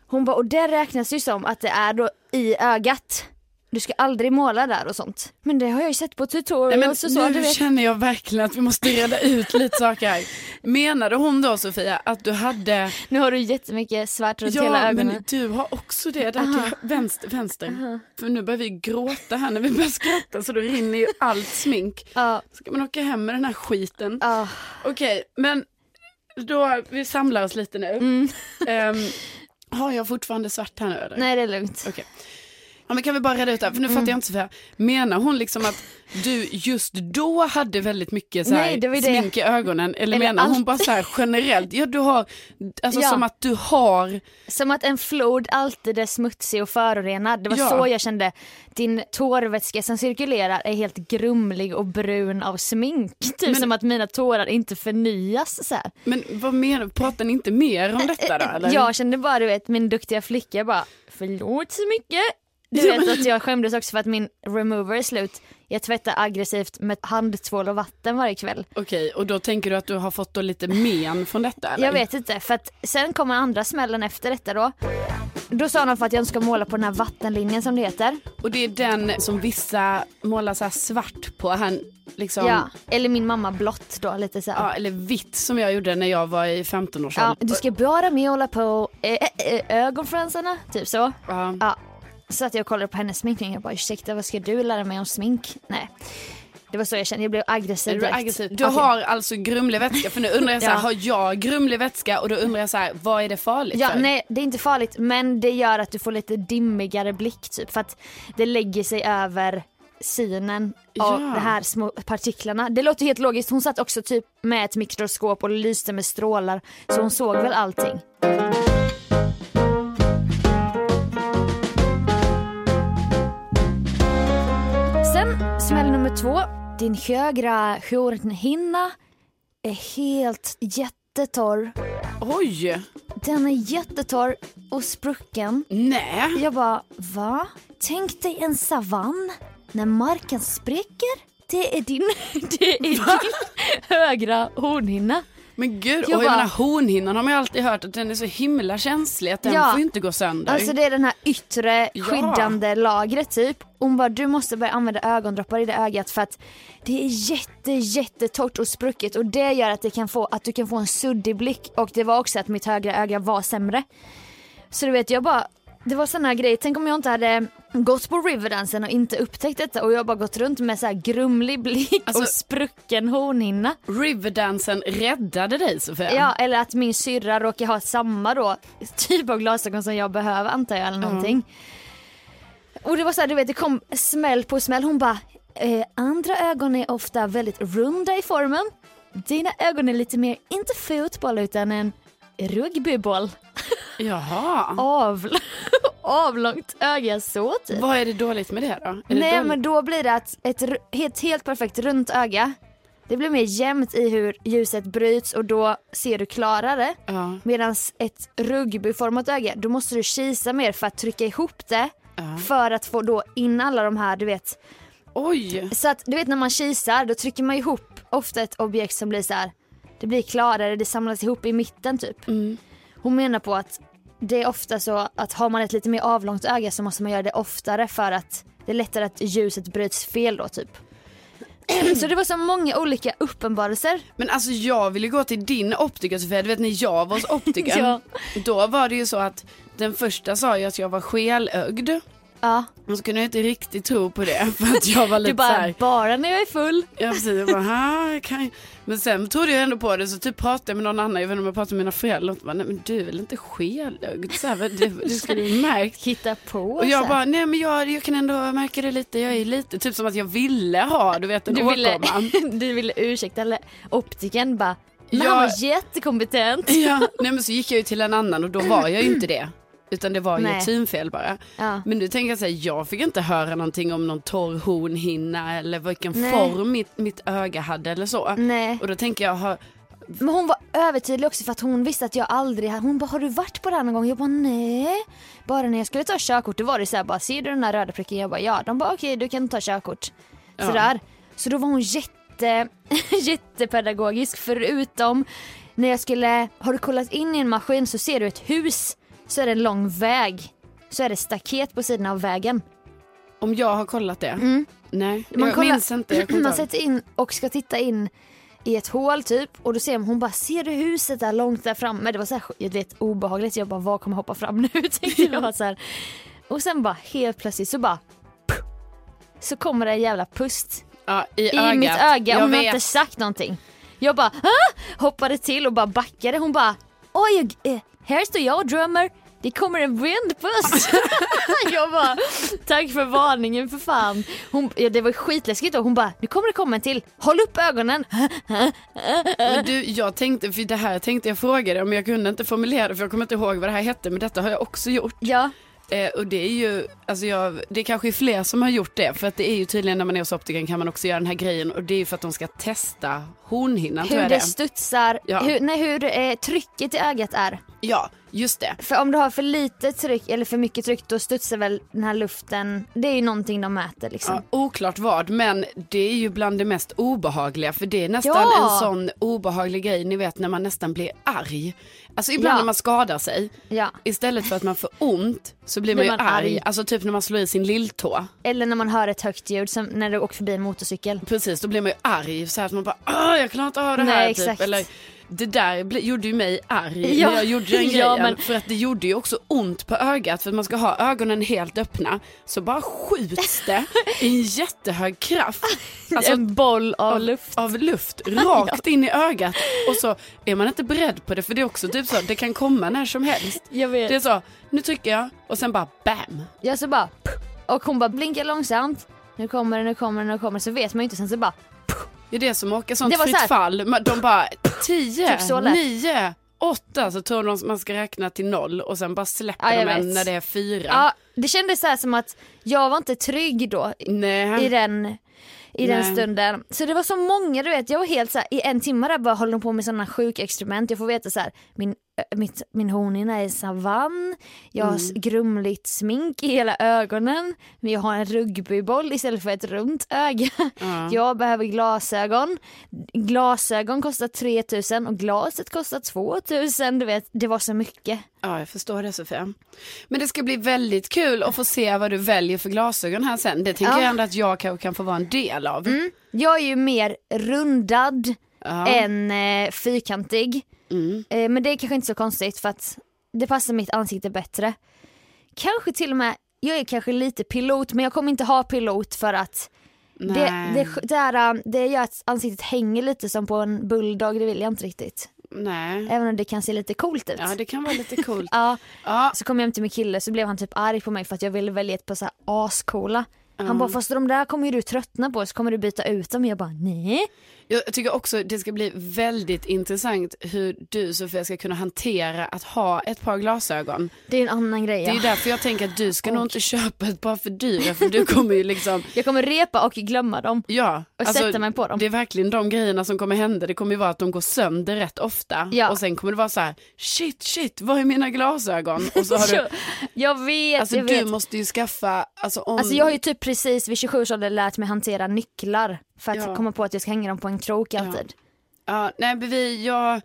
S3: Hon bara, och det räknas ju som att det är då i ögat. Du ska aldrig måla där och sånt. Men det har jag ju sett på
S2: Nej, men
S3: tutorials och så.
S2: nu
S3: Du vet.
S2: känner jag verkligen att vi måste reda ut lite saker här. Menade hon då Sofia att du hade
S3: Nu har du jättemycket svart runt hela
S2: Ja,
S3: ögonen.
S2: men du har också det där till vänster. vänster. För nu börjar vi gråta här när vi börjar skratta så då rinner ju allt smink.
S3: Ja, Ah,
S2: Ska man åka hem med den här skiten?
S3: ja.
S2: Okej, men då, vi samlar oss lite nu.
S3: Mm.
S2: Ehm, har jag fortfarande svart här nu eller?
S3: Nej det är lugnt.
S2: Okej. Ja, men kan vi bara reda ut det här,
S3: Mm.
S2: för nu fattar jag inte Sofia. Menar hon liksom att du just då hade väldigt mycket så här
S3: Nej, det var ju det.
S2: smink i ögonen? Eller,
S3: Eller
S2: menar hon
S3: allt.
S2: bara så här generellt, ja du har, alltså
S3: Ja.
S2: som att du har,
S3: Som att en flod alltid är smutsig och förorenad. Det var
S2: Ja.
S3: så jag kände. Din tårvätska som cirkulerar är helt grumlig och brun av smink. Typ
S2: Men-
S3: som att mina tårar inte förnyas så här.
S2: men vad menar pratar ni inte mer om detta då? Eller?
S3: Jag kände bara du vet min duktiga flicka bara förlåt så mycket. Du vet att jag skämdes också för att min remover är slut. Jag tvättar aggressivt med handtvål och vatten varje kväll.
S2: Okej, och då tänker du att du har fått då lite men från detta? Eller?
S3: Jag vet inte, för att sen kommer andra smällen efter detta då. Då sa de för att jag inte ska måla på den här vattenlinjen som det heter.
S2: Och det är den som vissa målar så här svart på, han liksom,
S3: Ja, eller min mamma blått då lite så här.
S2: ja, eller vitt som jag gjorde när jag var i 15 års
S3: Ja,
S2: ålder.
S3: du ska bara med och hålla på eh, eh, eh, ögonfransarna, typ så.
S2: Ja.
S3: Ja. Så att jag kollade på hennes sminkning och bara ursäkta vad ska du lära mig om smink? Nej. Det var så jag kände, jag blev aggressiv
S2: Är du
S3: direkt.
S2: aggressiv? Du
S3: Okej.
S2: har alltså grumlig vätska, för nu undrar jag så här,
S3: <laughs> Ja.
S2: har jag grumlig vätska? Och då undrar jag så här, vad är det farligt
S3: Ja,
S2: för?
S3: nej det är inte farligt men det gör att du får lite dimmigare blick typ för att det lägger sig över synen av
S2: Ja.
S3: de här små partiklarna. Det låter helt logiskt, hon satt också typ med ett mikroskop och lyste med strålar så hon såg väl allting. Sen smäll nummer två, din högra hornhinna är helt jättetorr.
S2: Oj,
S3: Den är jättetorr och sprucken.
S2: nej.
S3: Jag bara, va? Tänk dig en savann när marken spricker. Det är din, <laughs> det är din <laughs> högra hornhinna.
S2: Men gud,
S3: Jag
S2: och jag
S3: bara-
S2: menar hornhinnan har man ju alltid hört att den är så himla känslig att den
S3: Ja.
S2: får ju inte gå sönder.
S3: Alltså det är den här yttre
S2: Ja.
S3: skyddande lagret typ. Hon bara, du måste börja använda ögondroppar i det ögat för att det är jätte jättetort och sprucket och det gör att, det kan få, att du kan få en suddig blick och det var också att mitt högra öga var sämre. Så du vet jag bara, det var sådana grejer, tänk om jag inte hade gått på Riverdansen och inte upptäckt detta och jag bara gått runt med så här grumlig blick
S2: Alltså-
S3: och sprucken hornhinna.
S2: Riverdansen räddade dig Sofia.
S3: Ja, eller att min syrra råkar ha samma då typ av glasögon som jag behöver antar jag eller någonting. Och det var så här, du vet det kom smäll på smäll. Hon bara, eh, andra ögon är ofta väldigt runda i formen. Dina ögon är lite mer, inte fotboll utan en rugbyboll.
S2: Jaha.
S3: Avl- <laughs> avlångt öga så typ.
S2: Vad är det dåligt med det då? Är det
S3: Nej
S2: dåligt?
S3: men då blir det att ett, ru- ett helt perfekt runt öga, det blir mer jämnt i hur ljuset bryts och då ser du klarare.
S2: Ja,
S3: Medan ett rugbyformat öga, då måste du kisa mer för att trycka ihop det.
S2: ja.
S3: För att få då in alla de här, du vet.
S2: Oj,
S3: Så att du vet när man kisar, då trycker man ihop ofta ett objekt som blir så här. Det blir klarare, det samlas ihop i mitten typ.
S2: Mm.
S3: Hon menar på att det är ofta så att har man ett lite mer avlångt öga så måste man göra det oftare för att det är lättare att ljuset bryts fel då typ. <clears throat> Så det var så många olika uppenbarelser.
S2: men alltså jag ville gå till din optiker Sofia, du vet när jag
S3: <laughs>
S2: var hos optikern.
S3: Ja.
S2: Då var det ju så att den första sa ju att jag var skelögd.
S3: Ja,
S2: Och så kunde jag inte riktigt tro på det <laughs> för att jag var
S3: du
S2: lite så
S3: bara,
S2: här,
S3: bara när jag är full.
S2: ja precis, jag bara, "Ha, kan jag-" Men sen trodde jag ändå på det så typ pratade jag med någon annan, jag vet inte om jag pratade med mina föräldrar och de bara, nej men du är väl inte skelögd? Så här, "Vad- du,
S3: <laughs>
S2: du skulle ju märkt.
S3: Hitta på
S2: Och
S3: så
S2: jag
S3: här.
S2: bara, nej men jag, jag kan ändå märka det lite, jag är lite, typ som att jag ville ha, du vet en
S3: du ville,
S2: åkomma.
S3: <laughs> du ville ursäkta eller optiken bara men
S2: Ja.
S3: han var
S2: <laughs> <laughs>
S3: jättekompetent.
S2: Ja, nej men så gick jag ju till en annan och då var jag ju inte det. Utan det var ju
S3: Nej.
S2: ett synfel bara.
S3: Ja.
S2: Men nu tänker jag säga, jag fick inte höra någonting om någon torr hornhinna eller vilken
S3: Nej.
S2: form mitt, mitt öga hade eller så.
S3: Nej.
S2: Och då tänker jag, ha,
S3: Men hon var övertydlig också för att hon visste att jag aldrig hade, hon bara har du varit på det här någon gång? Jag bara nej. Bara när jag skulle ta körkort då var det så här bara ser du den där röda pricken? Jag bara ja. De bara okej du kan ta körkort. Sådär. Så då var hon jätte, <laughs> jättepedagogisk förutom när jag skulle, har du kollat in i en maskin så ser du ett hus så är det en lång väg. Så är det staket på sidan av vägen.
S2: om jag har kollat det? Nej,
S3: Mm. Man
S2: jag
S3: kollar-
S2: minns
S3: <clears throat>
S2: inte. Jag kommer
S3: man
S2: inte ihåg.
S3: sätter in och ska titta in i ett hål typ och då ser man, hon bara ser du huset där långt där framme? Det var så här, jag vet, obehagligt. Jag bara vad kommer hoppa fram nu? <laughs> Tänkte jag bara så här. Och sen bara helt plötsligt så bara puff, så kommer det en jävla pust
S2: ja, i,
S3: i
S2: ögat.
S3: mitt öga
S2: Jag
S3: och hon har
S2: vet.
S3: inte sagt någonting. Jag bara ah! hoppade till och bara backade. Hon bara oj, eh, här står jag och drömmer. Det kommer en vindpuss. <laughs> jag bara tack för varningen för fan. Hon, ja, det var skitläskigt och hon bara nu kommer det komma en till. Håll upp ögonen.
S2: Men du, jag tänkte, för det här tänkte jag fråga dig om jag kunde inte formulera det för jag kommer inte ihåg vad det här hette men detta har jag också gjort.
S3: ja,
S2: Eh, och det är ju, alltså jag, det är kanske är fler som har gjort det för att det är ju tydligen när man är hos optikern kan man också göra den här grejen och det är ju för att de ska testa hornhinnan tror
S3: hur
S2: jag det
S3: det
S2: är.
S3: studsar,
S2: Ja.
S3: hur, nej, hur eh, trycket i ögat är.
S2: Ja, just det.
S3: För om du har för lite tryck eller för mycket tryck då studsar väl den här luften, det är ju någonting de mäter liksom.
S2: Ja, oklart vad, men det är ju bland det mest obehagliga för det är nästan
S3: Ja.
S2: en sån obehaglig grej ni vet när man nästan blir arg. Alltså ibland
S3: Ja.
S2: när man skadar sig,
S3: Ja.
S2: istället för att man får ont så blir man ju
S3: Blir man
S2: arg.
S3: arg.
S2: Alltså typ när man slår i sin lilltå.
S3: Eller när man hör ett högt ljud som när du åker förbi en motorcykel.
S2: Precis, då blir man ju arg så här att man bara "Åh, jag klarar inte av det
S3: Nej,
S2: här. Typ.
S3: exakt.
S2: Eller, det där bli- gjorde ju mig arg
S3: Ja.
S2: när jag gjorde den grejen.
S3: <laughs> Ja, men-
S2: För att det gjorde ju också ont på ögat för att man ska ha ögonen helt öppna så bara skjuts det i en jättehög
S3: <laughs>
S2: kraft. Alltså
S3: en boll av,
S2: av,
S3: luft.
S2: av luft
S3: <laughs>
S2: rakt in i ögat och så är man inte beredd på det för det är också typ så det kan komma när som helst.
S3: Jag vet.
S2: Det är så, nu trycker jag och sen bara bam.
S3: Jag så bara puff, och hon bara blinkar långsamt. Nu kommer det, nu kommer det, nu kommer det. Så vet man ju inte. Sen så bara
S2: Det är det som åker sånt
S3: Det var
S2: fritt
S3: så här-
S2: fall. Man- De bara 10,
S3: Typ så lätt.
S2: 9, 8 så tror de att man ska räkna till noll och sen bara släpper
S3: Ja, jag
S2: de en
S3: vet.
S2: när det är fyra.
S3: ja, det kändes så här som att jag var inte trygg då i-
S2: Nej.
S3: i den i den
S2: Nej.
S3: stunden. Så det var så många du vet, jag var helt så här, i en timme där bara höll de på med sådana sjuka experiment. Jag får veta så här, min, ö, mitt, min hornhinna är savann, jag har s- grumligt smink i hela ögonen, men jag har en rugbyboll istället för ett runt öga. <laughs> Jag behöver glasögon, glasögon kostar 3000 och glaset kostar 2000, du vet, det var så mycket.
S2: Ja, jag förstår det Sofia. Men det ska bli väldigt kul att få se vad du väljer för glasögon här sen. Det tänker
S3: Ja. Mm,
S2: jag ändå att jag kanske kan få vara en del av.
S3: Jag är ju mer rundad
S2: Ja. Mm.
S3: än eh, fyrkantig. Eh, men det är kanske inte så konstigt för att det passar mitt ansikte bättre. Kanske till och med, jag är kanske lite pilot men jag kommer inte ha pilot för att det,
S2: Nej.
S3: det, det, här, eh, det gör att ansiktet hänger lite som på en bulldog, det vill jag inte riktigt.
S2: Nej.
S3: Även om det kan se lite coolt ut.
S2: Mm. Ja, det kan vara lite coolt.
S3: <laughs> Ja.
S2: Ja.
S3: Så kom jag hem till min kille så blev han typ arg på mig för att jag ville välja ett par så här ascoola. Han bara fast de där kommer ju du tröttna på så kommer du byta ut dem. Jag bara nej.
S2: Jag tycker också det ska bli väldigt intressant hur du Sofia ska kunna hantera att ha ett par glasögon.
S3: Det är en annan grej.
S2: Det är ju
S3: ja.
S2: därför jag tänker att du ska nog inte köpa ett par för dyra för du kommer ju
S3: <laughs>
S2: liksom
S3: Jag kommer repa och glömma dem.
S2: Ja, alltså,
S3: Och sätta mig på dem.
S2: det är verkligen de grejerna som kommer hända. Det kommer ju vara att de går sönder rätt ofta
S3: Ja.
S2: och sen kommer det vara så här, shit, shit, var är mina glasögon? Och så har du,
S3: <laughs> Jag vet,
S2: alltså
S3: jag
S2: du
S3: vet.
S2: måste ju skaffa, alltså om,
S3: Alltså jag har ju typ precis vid 27 års ålder lärt mig hantera nycklar för att
S2: Ja.
S3: komma på att jag ska hänga dem på en krok alltid.
S2: ja, nej men vi, jag,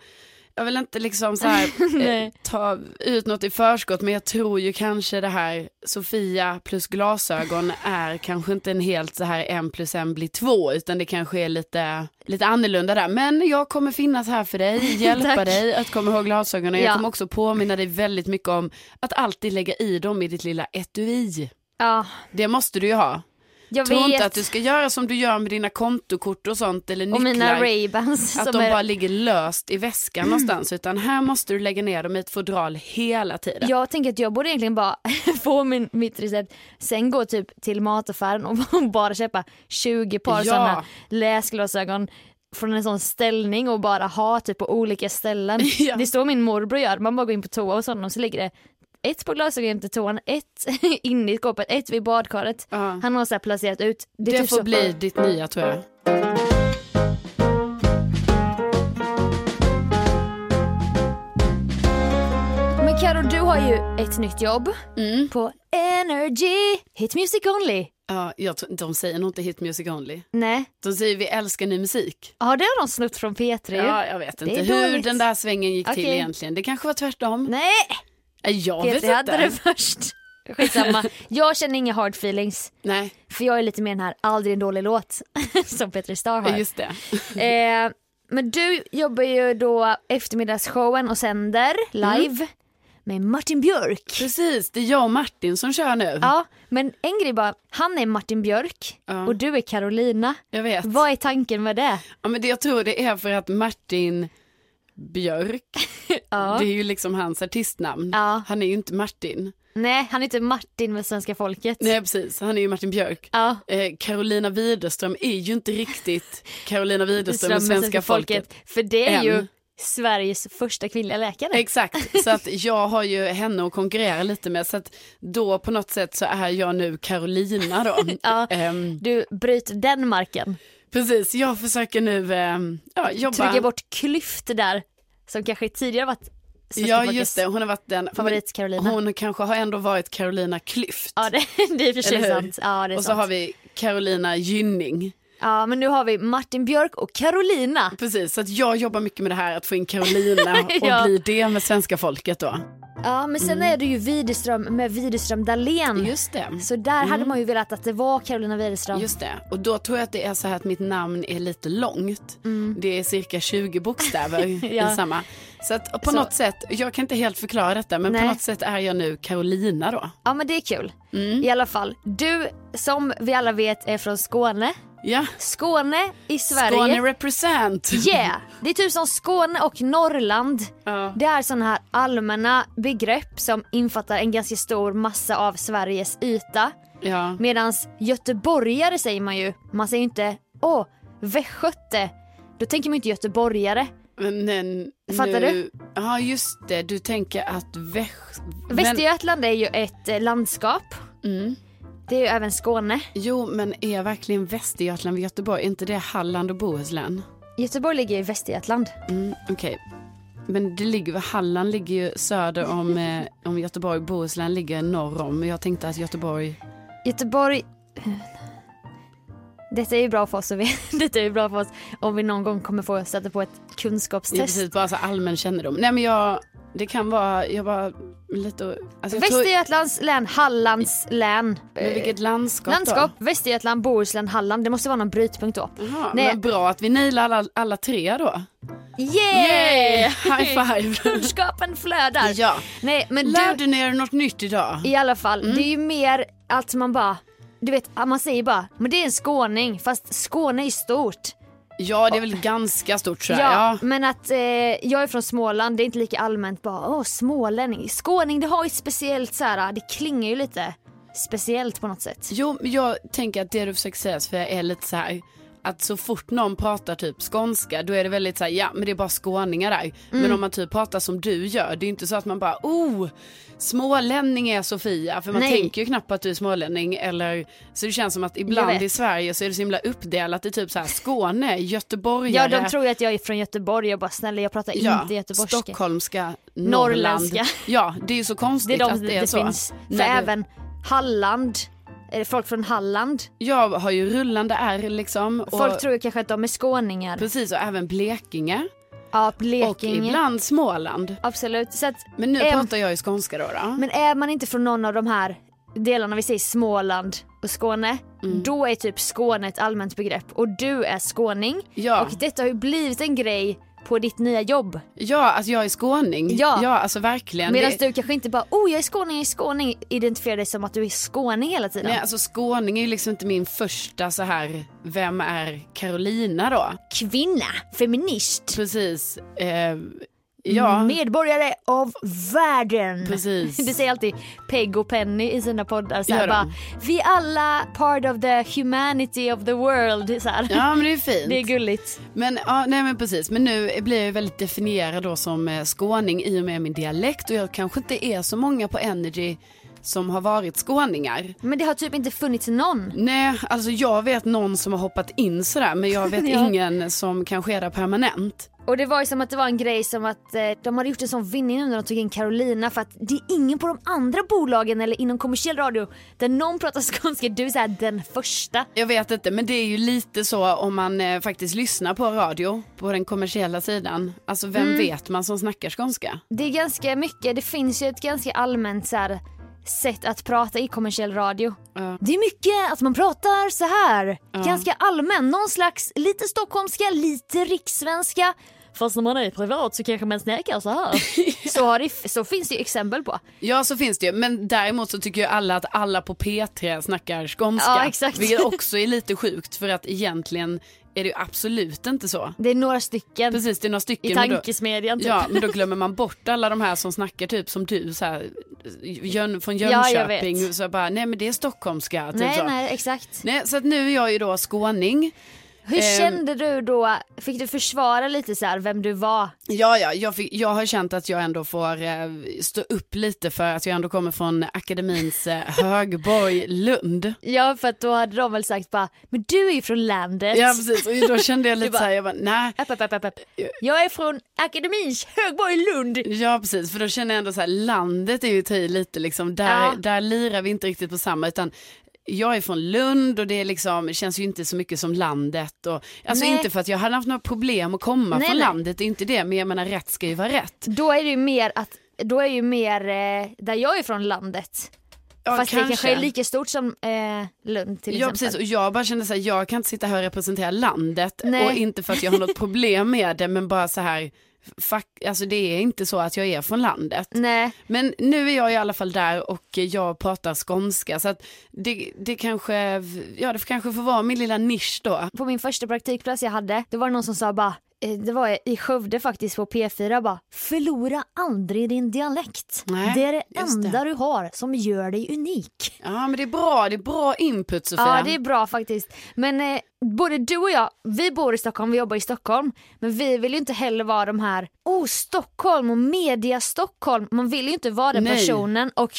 S2: jag vill inte liksom
S3: <laughs>
S2: så här eh, ta ut något i förskott men jag tror ju kanske det här Sofia plus glasögon är kanske inte en helt så här en plus en blir två utan det kanske är lite, lite annorlunda där. Men jag kommer finnas här för
S3: <laughs>
S2: dig, hjälpa
S3: Tack.
S2: dig att komma ihåg glasögonen.
S3: Ja.
S2: Jag kommer också påminna dig väldigt mycket om att alltid lägga i dem i ditt lilla etui.
S3: Ja,
S2: Det måste du ju ha.
S3: jag
S2: Tror
S3: vet.
S2: inte att du ska göra som du gör med dina kontokort och sånt eller
S3: och
S2: nycklar.
S3: mina Ray-Bans
S2: Att
S3: som
S2: de
S3: är...
S2: bara ligger löst i väskan någonstans utan här måste du lägga ner dem i ett fodral hela tiden.
S3: Jag tänker att jag borde egentligen bara <laughs> få min, mitt recept, sen gå typ till mataffären och <laughs> bara köpa 20 par
S2: Ja.
S3: sådana läsglasögon från en sån ställning och bara ha typ på olika ställen.
S2: <laughs> Ja.
S3: Det är så min morbror gör, man bara går in på toa och sådana och så ligger det ett på glasögonen till toan, ett <laughs> inne i skåpet, ett vid badkaret.
S2: Ja.
S3: Han har så här placerat ut. är
S2: Det
S3: typ
S2: får
S3: så-
S2: bli ditt nya tror jag.
S3: Men Karo, du har ju ett nytt jobb
S2: Mm.
S3: på Energy, Hit Music Only.
S2: Ja, jag tror, de säger nog inte hit music only.
S3: Nej,
S2: De säger vi älskar ny musik.
S3: ja det har de snott från P3 ju.
S2: Ja, jag vet
S3: är
S2: inte hur
S3: dåligt.
S2: den där svängen gick till
S3: Okej.
S2: egentligen. Det kanske var tvärtom.
S3: Nej!
S2: Nej, jag vet
S3: Peter
S2: inte.
S3: hade det först. Skitsamma. Jag känner inga hard feelings.
S2: Nej,
S3: För jag är lite mer den här aldrig en dålig låt <laughs> som Petri Star har.
S2: just det. <laughs>
S3: Eh,
S2: Mm.
S3: men du jobbar ju då eftermiddagsshowen och sänder live. med Martin Björk.
S2: Precis, det är jag och Martin som kör nu.
S3: Ja, men en grej bara, han är Martin Björk
S2: Ja.
S3: och du är Carolina.
S2: Jag vet.
S3: Vad är tanken med det?
S2: Ja, men det jag tror det är för att Martin Björk,
S3: <laughs> Ja.
S2: det är ju liksom hans artistnamn.
S3: Ja.
S2: Han är ju inte Martin.
S3: Nej, han är inte Martin med svenska folket.
S2: Nej, precis. Han är ju Martin Björk.
S3: Ja.
S2: Eh, Carolina Widerström är ju inte riktigt Carolina Widerström med
S3: Ström
S2: svenska, folket.
S3: För det är
S2: Än.
S3: ju Sveriges första kvinnliga läkare. <laughs>
S2: Exakt, så att jag har ju henne att konkurrera lite med. Så att då på något sätt så är jag nu Carolina då.
S3: <laughs> Ja.
S2: <laughs> Ehm,
S3: du bryter den marken,
S2: precis, jag försöker nu ehm, ja, jobba.
S3: trycker bort klyft där som kanske tidigare varit svenska
S2: Ja
S3: folkets-
S2: just det, hon har varit den.
S3: Favorit-Carolina.
S2: Hon kanske har ändå varit Carolina Klüft.
S3: Ja det, <laughs> det är i och för sig
S2: Eller hur?
S3: sant. Ja, det är
S2: och så
S3: sant.
S2: har vi Carolina Gynning.
S3: ja men nu har vi Martin Björk och Carolina.
S2: Precis, så att jag jobbar mycket med det här att få in
S3: <laughs>
S2: Carolina och
S3: Ja.
S2: bli det med svenska folket då.
S3: Ja men sen är det ju Widerström med Widerström Dahlén.
S2: Just det.
S3: Så där hade man ju velat att det var Carolina Widerström.
S2: Just det, och då tror jag att det är så här att mitt namn är lite långt. Det är cirka 20
S3: <laughs>
S2: bokstäver
S3: Mm. Ja.
S2: i samma. Så att och på
S3: Så-
S2: något sätt, jag kan inte helt förklara detta men
S3: Nej.
S2: på något sätt är jag nu Carolina då.
S3: Ja men det är kul.
S2: Mm.
S3: I alla fall, du som vi alla vet är från Skåne.
S2: Ja,
S3: Skåne i Sverige.
S2: Skåne represent.
S3: Yeah! Det är typ som Skåne och Norrland.
S2: Ja.
S3: Det är sådana här allmänna begrepp som infattar en ganska stor massa av Sveriges yta.
S2: Ja.
S3: Medan göteborgare säger man ju, man säger ju inte åh, västgöte. Då tänker man ju inte göteborgare.
S2: Men, men, nu...
S3: Fattar
S2: du? Ja just det, du tänker att väst...
S3: Västergötland är ju ett eh, landskap.
S2: Mm.
S3: Det är ju även Skåne.
S2: Jo men är verkligen Västergötland vid Göteborg, är inte det Halland och Bohuslän?
S3: Göteborg ligger i Västergötland.
S2: Mm, Okej. Men det ligger, väl- Halland ligger ju söder
S3: <laughs>
S2: om, eh, om Göteborg, Bohuslän ligger norr om. Men Jag tänkte att Göteborg,
S3: Göteborg... <laughs> Detta är ju bra för oss, om vi, <laughs> detta är ju bra för oss om vi någon gång kommer få sätta på ett
S2: det är
S3: kunskapstest.
S2: precis bara så allmän kännedom. Nej men jag, det kan vara, jag bara lite, och- alltså jag tror,
S3: Västergötlands län, Hallands län.
S2: men vilket landskap,
S3: Landskap,
S2: då?
S3: Västergötland, Bohuslän, Halland. Det måste vara någon brytpunkt då.
S2: Jaha,
S3: Nej.
S2: men bra att vi nailar alla, alla tre då.
S3: Yeah! <laughs>
S2: High five!
S3: Kunskapen flödar.
S2: ja.
S3: Nej men
S2: Lärde
S3: du,
S2: ni er något nytt idag?
S3: i alla fall,
S2: Mm.
S3: det är ju mer att man bara, du vet, man säger bara, men det är en skåning, fast Skåne är ju stort.
S2: Ja det är väl ganska stort tror jag.
S3: Ja,
S2: Ja.
S3: men att eh, jag är från Småland, det är inte lika allmänt bara åh smålänning. Skåning det har ju ett speciellt så här, det klingar ju lite speciellt på något sätt.
S2: Jo, men jag tänker att det du försöker säga för jag är lite så här att så fort någon pratar typ skånska då är det väldigt så här, ja men det är bara skåningar där.
S3: Mm.
S2: Men om man typ pratar som du gör, det är inte så att man bara oh smålänning är Sofia för man
S3: Nej.
S2: tänker ju knappt på att du är smålänning eller så det känns som att
S3: Jag
S2: ibland
S3: vet.
S2: i Sverige så är det så himla uppdelat i typ så här Skåne,
S3: Ja
S2: göteborgare,
S3: de tror ju att jag är från Göteborg, jag bara snälla jag pratar
S2: ja,
S3: inte göteborgska.
S2: stockholmska,
S3: Norrländska.
S2: norrländska. Ja det är ju så
S3: Det är
S2: konstigt
S3: de
S2: att
S3: det,
S2: det är så.
S3: finns. För
S2: När du-
S3: även Halland, eh, folk från Halland,
S2: Jag har ju rullande R liksom. Och,
S3: folk tror ju kanske att de är skåningar.
S2: Precis och även Blekinge.
S3: Ja,
S2: Och
S3: Blekinge.
S2: ibland Småland.
S3: Absolut. Så att,
S2: Men nu
S3: Äm.
S2: pratar jag ju skånska då. då.
S3: Men är man inte från någon av de här delarna, vi säger Småland och Skåne,
S2: Mm.
S3: då är typ Skåne ett allmänt begrepp och du är skåning.
S2: Ja.
S3: Och detta har ju blivit en grej på ditt nya jobb.
S2: Ja, alltså jag är skåning.
S3: Ja.
S2: ja alltså verkligen.
S3: Medan
S2: Det-
S3: du kanske inte bara oh jag är skåning, jag är skåning, identifierar dig som att du är skåning hela tiden.
S2: Nej, alltså skåning är ju liksom inte min första så här, vem är Carolina då?
S3: Kvinna, feminist,
S2: Precis. Eh, ja,
S3: medborgare av världen. <laughs>
S2: Precis.
S3: Det säger alltid Peg och Penny i sina poddar så här,
S2: Gör de?
S3: bara, vi är alla part of the humanity of the world. Så här.
S2: ja men det är fint.
S3: <laughs> Det är gulligt.
S2: Men, ja, nej, men precis. Men nu blir jag ju väldigt definierad då som eh, skåning i och med min dialekt och jag kanske inte är så många på Energy som har varit skåningar.
S3: Men det har typ inte funnits någon.
S2: Nej, alltså jag vet någon som har hoppat in sådär men jag vet
S3: <laughs> Ja.
S2: ingen som kanske är där permanent.
S3: Och det var ju som att det var en grej som att eh, de hade gjort en sån vinning nu när de tog in Carolina för att det är ingen på de andra bolagen eller inom kommersiell radio där någon pratar <laughs> skånska, du är såhär den första.
S2: Jag vet inte men det är ju lite så om man eh, faktiskt lyssnar på radio på den kommersiella sidan. Alltså vem
S3: Mm.
S2: vet man som snackar skånska?
S3: Det är ganska mycket, det finns ju ett ganska allmänt så här sätt att prata i kommersiell radio.
S2: Ja.
S3: Det är mycket att man pratar så här. ganska allmänt, någon slags lite stockholmska, lite rikssvenska. Fast när man är privat så kanske man snackar så <laughs> här. så, har det, så finns det ju exempel på.
S2: Ja så finns det ju, men däremot så tycker ju alla att alla på P3 snackar skånska.
S3: Ja, exakt.
S2: Vilket också är lite sjukt för att egentligen är det ju absolut inte så.
S3: Det är några stycken
S2: Precis det är några stycken.
S3: i
S2: men då-
S3: tankesmedjan typ.
S2: Ja men då glömmer man bort alla de här som snackar typ som du så här, Jön, från
S3: Ja, jag
S2: Jönköping.
S3: vet.
S2: så bara, nej men det är stockholmska. Typ
S3: nej,
S2: så.
S3: nej, exakt.
S2: nej så att nu är jag ju då skåning.
S3: Hur
S2: Ehm.
S3: kände du då, fick du försvara lite så här vem du var?
S2: Ja, ja jag, fick, jag har känt att jag ändå får eh, stå upp lite för att jag ändå kommer från akademins eh, högborg
S3: <laughs>
S2: Lund.
S3: Ja för att då hade de väl sagt bara, men du är ju från landet.
S2: Ja precis, och då kände jag lite
S3: bara-
S2: så här, jag bara, nej.
S3: App, app, app, app, app. Jag är från akademins Högborg Lund.
S2: Ja precis, för då känner jag ändå så här, landet är ju att ta i lite liksom, där,
S3: Ja.
S2: där lirar vi inte riktigt på samma, utan jag är från Lund och det är liksom, känns ju inte så mycket som landet. Och, alltså
S3: Nej.
S2: inte för att jag hade haft några problem att komma
S3: Nej,
S2: från
S3: nej.
S2: landet, det är inte det, men jag menar rätt ska ju vara rätt.
S3: Då är det ju mer att, då är ju mer eh, där jag är från landet.
S2: Ja,
S3: Fast det kanske är lika stort som eh, Lund till
S2: Ja
S3: exempel.
S2: precis och jag bara kände så här, jag kan inte sitta här och representera landet
S3: Nej.
S2: och inte för att jag har något problem med det men bara så här, fuck, alltså det är inte så att jag är från landet.
S3: Nej,
S2: Men nu är jag i alla fall där och jag pratar skånska så att det, det kanske, ja det kanske får vara min lilla nisch då.
S3: på min första praktikplats jag hade, då var det någon som sa bara, eh, det var i Skövde faktiskt på P4 bara, förlora aldrig din dialekt.
S2: Nej,
S3: det är det
S2: just det.
S3: enda du har som gör dig unik.
S2: Ja men det är bra, det är bra input Sofia.
S3: Ja det är bra faktiskt. Men eh, både du och jag, vi bor i Stockholm, vi jobbar i Stockholm. Men vi vill ju inte heller vara de här, oh Stockholm och media Stockholm. Man vill ju inte vara den
S2: Nej.
S3: personen och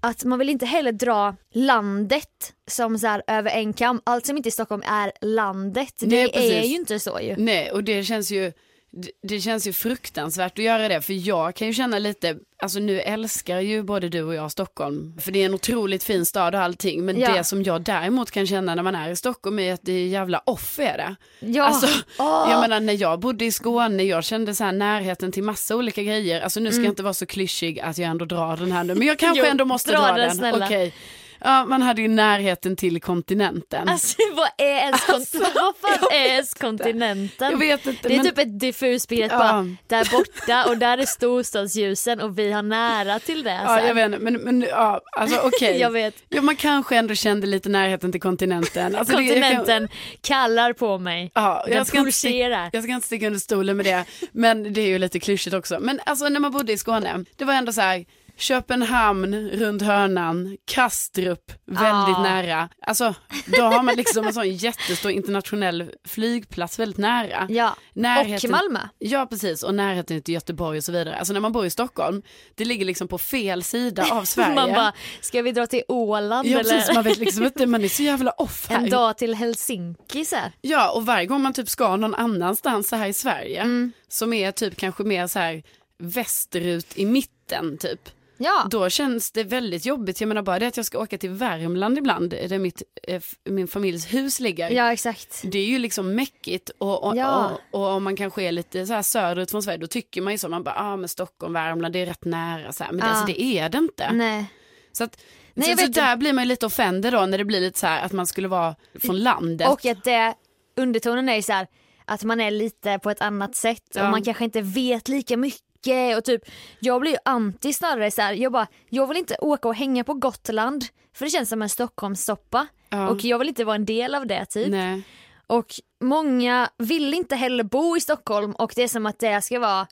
S3: att man vill inte heller dra landet som så här över en kam. Allt som inte är Stockholm är landet. Det
S2: Nej, precis. Mm.
S3: är ju inte så ju.
S2: Nej, och det känns ju det- det känns ju fruktansvärt att göra det för jag kan ju känna lite, alltså nu älskar ju både du och jag Stockholm för det är en otroligt fin stad och allting men
S3: Ja.
S2: det som jag däremot kan känna när man är i Stockholm är att det är jävla off är det.
S3: Ja.
S2: Alltså,
S3: Åh.
S2: Jag menar när jag bodde i Skåne, jag kände så här närheten till massa olika grejer, alltså nu ska jag inte vara så klyschig att jag ändå drar den här nu
S3: <laughs>
S2: men jag kanske
S3: Mm. Jo,
S2: ändå måste
S3: dra
S2: dra,
S3: den,
S2: den.
S3: snälla.
S2: Okej. Ja, man hade ju närheten till kontinenten.
S3: Alltså vad är ens, kon-
S2: Alltså,
S3: vad fan är ens kontinenten?
S2: jag vet inte,
S3: det är
S2: men-
S3: typ ett diffust begrepp
S2: Ja.
S3: bara, där borta och där är storstadsljusen och vi har nära till det. så
S2: Ja,
S3: här.
S2: jag vet inte, men, men ja, alltså okej.
S3: <laughs> Jag vet.
S2: Ja, man kanske ändå kände lite närheten till kontinenten. Alltså, det- jag kan-
S3: Kontinenten kallar på mig.
S2: Ja,
S3: Den
S2: jag ska, inte
S3: pulserar.
S2: sticka, jag ska inte sticka under stolen med det,
S3: <laughs>
S2: men det är ju lite klyschigt också. Men alltså när man bodde i Skåne, det var ändå så här, Köpenhamn runt hörnan, Kastrup väldigt
S3: Ja.
S2: nära. Alltså då har man liksom en
S3: <laughs>
S2: sån jättestor internationell flygplats väldigt nära.
S3: Ja.
S2: Närheten-
S3: Och Malmö.
S2: Ja precis och närheten till Göteborg och så vidare. Alltså när man bor i Stockholm, det ligger liksom på fel sida av Sverige.
S3: <laughs> Man bara, ska vi dra till Åland
S2: Ja
S3: eller
S2: precis, man vet liksom inte, man är så jävla
S3: <laughs>
S2: off
S3: en
S2: här.
S3: dag till Helsinki så här.
S2: Ja och varje gång man typ ska någon annanstans så här i Sverige
S3: Mm.
S2: som är typ kanske mer så här västerut i mitten typ.
S3: Ja,
S2: Då känns det väldigt jobbigt, jag menar bara det att jag ska åka till Värmland ibland där mitt, eh, f- min familjs hus ligger.
S3: ja exakt.
S2: Det är ju liksom mäckigt och, och,
S3: Ja.
S2: och, och om man kanske är lite så här söderut från Sverige då tycker man ju så, man bara ah, men Stockholm, Värmland det är rätt nära så här. men det,
S3: Ja.
S2: alltså, det är det inte.
S3: Nej.
S2: Så, att,
S3: Nej, jag
S2: så, så
S3: vet inte.
S2: där blir man ju lite offender då när det blir lite så här att man skulle vara från landet.
S3: Och att det, undertonen är ju så här, att man är lite på ett annat sätt och
S2: Ja.
S3: man kanske inte vet lika mycket och typ jag blir ju anti snarare så här, jag bara jag vill inte åka och hänga på Gotland för det känns som en Stockholmssoppa
S2: Ja.
S3: och jag vill inte vara en del av det typ
S2: Nej.
S3: och många vill inte heller bo i Stockholm och det är som att det ska vara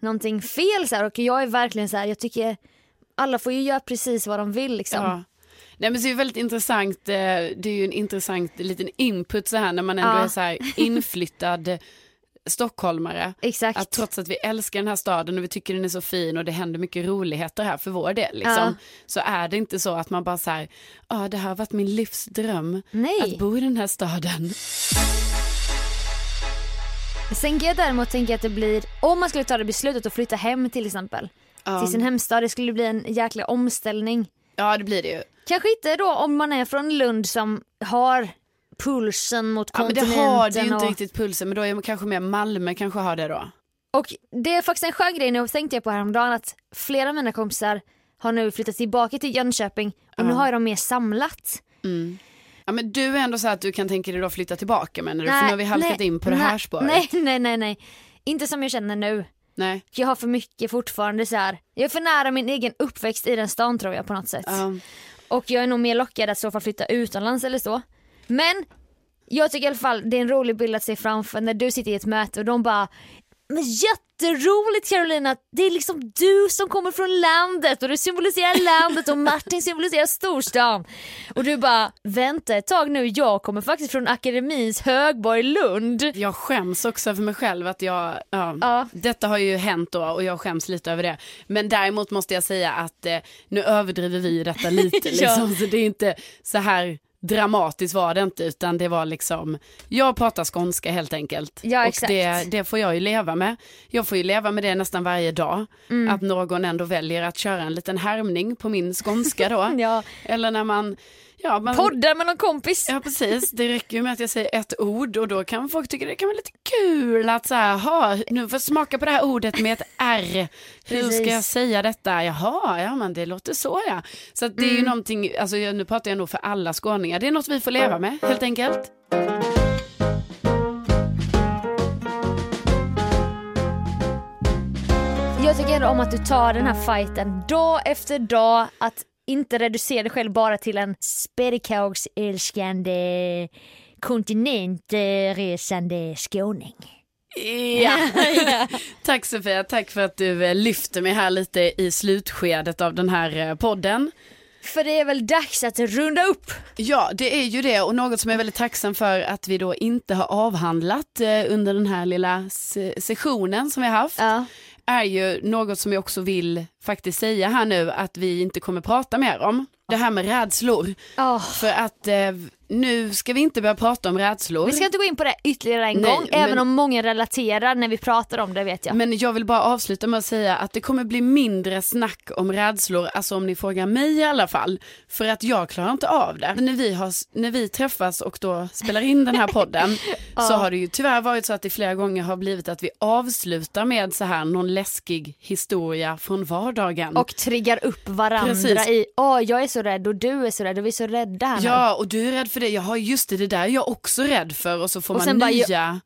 S3: någonting fel så här och jag är verkligen så här, jag tycker alla får ju göra precis vad de vill liksom.
S2: Ja. Nej men så är det väldigt intressant, eh, det är ju en intressant liten input så här när man ändå
S3: Ja.
S2: är så här
S3: <laughs>
S2: inflyttad stockholmare.
S3: Exakt.
S2: Att trots att vi älskar den här staden och vi tycker den är så fin och det händer mycket roligheter här för vår del liksom,
S3: Ja.
S2: så är det inte så att man bara så här, ja det här har varit min livsdröm
S3: Nej.
S2: att bo i den här staden.
S3: Sen kan jag däremot tänka att det blir, om man skulle ta det beslutet att flytta hem till exempel, till sin hemstad, det skulle bli en jäkla omställning.
S2: Ja det blir det ju.
S3: Kanske inte då om man är från Lund som har pulsen mot
S2: Ja, men det
S3: kontinenten.
S2: har det ju inte
S3: och,
S2: riktigt pulsen men då är man kanske mer Malmö kanske har det då.
S3: och det är faktiskt en skön grej nu, tänkte jag på häromdagen, att flera av mina kompisar har nu flyttat tillbaka till Jönköping och nu har ju de mer samlat.
S2: Ja, men du är ändå så här att du kan tänka dig då flytta tillbaka menar du? För nu har vi halkat in på det
S3: nej,
S2: här spåret.
S3: Nej, nej, nej, nej. Inte som jag känner nu.
S2: Nej.
S3: Jag har för mycket fortfarande så här. Jag är för nära min egen uppväxt i den stan tror jag på något sätt.
S2: Ja.
S3: Och jag är nog mer lockad att i så fall flytta utomlands eller så. Men jag tycker i alla fall det är en rolig bild att se framför när du sitter i ett möte och de bara men jätteroligt Carolina, det är liksom du som kommer från landet och du symboliserar landet och Martin symboliserar storstan. Och du bara, vänta ett tag nu, jag kommer faktiskt från akademins högborg Lund.
S2: Jag skäms också för mig själv att jag, ja,
S3: Ja.
S2: detta har ju hänt då och jag skäms lite över det. Men däremot måste jag säga att eh, nu överdriver vi
S3: <laughs>
S2: detta lite
S3: Ja.
S2: liksom, så det är inte så här dramatiskt var det inte utan det var liksom, jag pratar skånska helt enkelt.
S3: Ja,
S2: och
S3: exakt.
S2: Det, det får jag ju leva med. Jag får ju leva med det nästan varje dag.
S3: Mm.
S2: Att någon ändå väljer att köra en liten härmning på min skånska då.
S3: <laughs> Ja.
S2: Eller när man, ja, man
S3: Poddar med någon kompis.
S2: Ja precis, det räcker ju med att jag säger ett ord och då kan folk tycka det kan vara lite kul att så här, "Ha, nu får jag smaka på det här ordet med ett R. Hur
S3: Precis.
S2: ska jag säga detta? Jaha, ja men det låter så ja. Så att det är ju någonting, alltså jag- nu pratar jag nog för alla skåningar, det är något vi får leva med helt enkelt.
S3: Jag tycker ändå om att du tar den här fighten dag efter dag, att inte reducera dig själv bara till en spedikagsälskande kontinentresande skåning.
S2: Ja. tack Sofia, tack för att du eh, lyfter mig här lite i slutskedet av den här eh, podden.
S3: <laughs> För det är väl dags att runda upp?
S2: Ja, det är ju det och något som jag är väldigt tacksam för att vi då inte har avhandlat eh, under den här lilla se- sessionen som vi har haft
S3: Ja.
S2: är ju något som jag också vill faktiskt säga här nu att vi inte kommer prata mer om. Det här med rädslor.
S3: Åh,
S2: För att eh, nu ska vi inte börja prata om rädslor.
S3: Vi ska inte gå in på det ytterligare en
S2: Nej,
S3: gång, även
S2: men-
S3: om många relaterar när vi pratar om det vet jag.
S2: Men jag vill bara avsluta med att säga att det kommer bli mindre snack om rädslor, alltså om ni frågar mig i alla fall. För att jag klarar inte av det. När vi, har, när vi träffas och då spelar in den här
S3: <laughs>
S2: podden så har det ju tyvärr varit så att det flera gånger har blivit att vi avslutar med så här någon läskig historia från vardagen.
S3: Och triggar upp varandra
S2: Precis.
S3: i, åh jag är så rädd och du är så rädd och vi är så rädda här nu.
S2: Ja, och du är rädd för det. Jaha, just det, det där är jag också rädd för. Och så får
S3: Och
S2: man
S3: sen bara,
S2: nya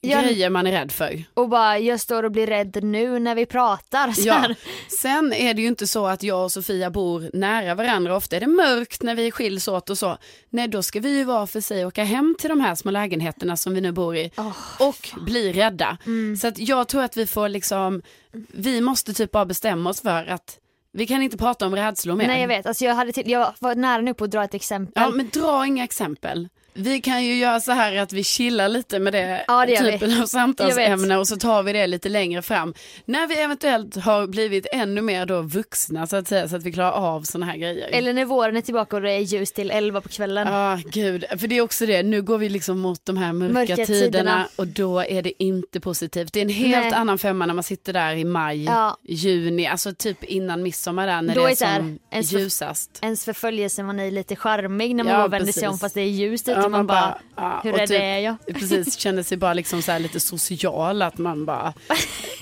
S3: jag-
S2: grejer man är rädd för.
S3: Och bara, jag står och blir rädd nu när vi pratar. Så
S2: Ja.
S3: här.
S2: Sen är det ju inte så att jag och Sofia bor nära varandra. Ofta är det mörkt när vi skiljs åt och så. Nej, då ska vi ju vara för sig och åka hem till de här små lägenheterna som vi nu bor i och bli rädda.
S3: Mm.
S2: Så att jag tror att vi får liksom, vi måste typ bara bestämma oss för att vi kan inte prata om rädslor mer.
S3: Nej jag vet, alltså jag, hade till, jag var nära nu på att dra ett exempel.
S2: Ja, men dra inga exempel. Vi kan ju göra så här att vi chillar lite med det,
S3: Ja, det gör vi.
S2: typen av
S3: Jag
S2: samtalsämne och så tar vi det lite längre fram. När vi eventuellt har blivit ännu mer då vuxna så att säga så att vi klarar av sådana här grejer.
S3: Eller när våren är tillbaka och det är ljus till 11 på kvällen.
S2: Ja, gud. För det är också det, nu går vi liksom mot de här mörka,
S3: Mörka
S2: tiderna,
S3: tiderna.
S2: och då är det inte positivt. Det är en helt
S3: Nej.
S2: annan femma när man sitter där i maj,
S3: Ja.
S2: juni, alltså typ innan midsommar där när
S3: Då
S2: det är,
S3: är så här,
S2: som
S3: en så-
S2: ljusast.
S3: Ens förföljelsemani är lite charmig när man
S2: Ja,
S3: bara vänder sig om
S2: precis.
S3: fast det är ljust ute
S2: Ja,
S3: och typ man bara,
S2: ja,
S3: hur
S2: och typ-
S3: rädd är
S2: <laughs>
S3: jag?
S2: Precis, känner sig bara liksom så här lite social att man bara.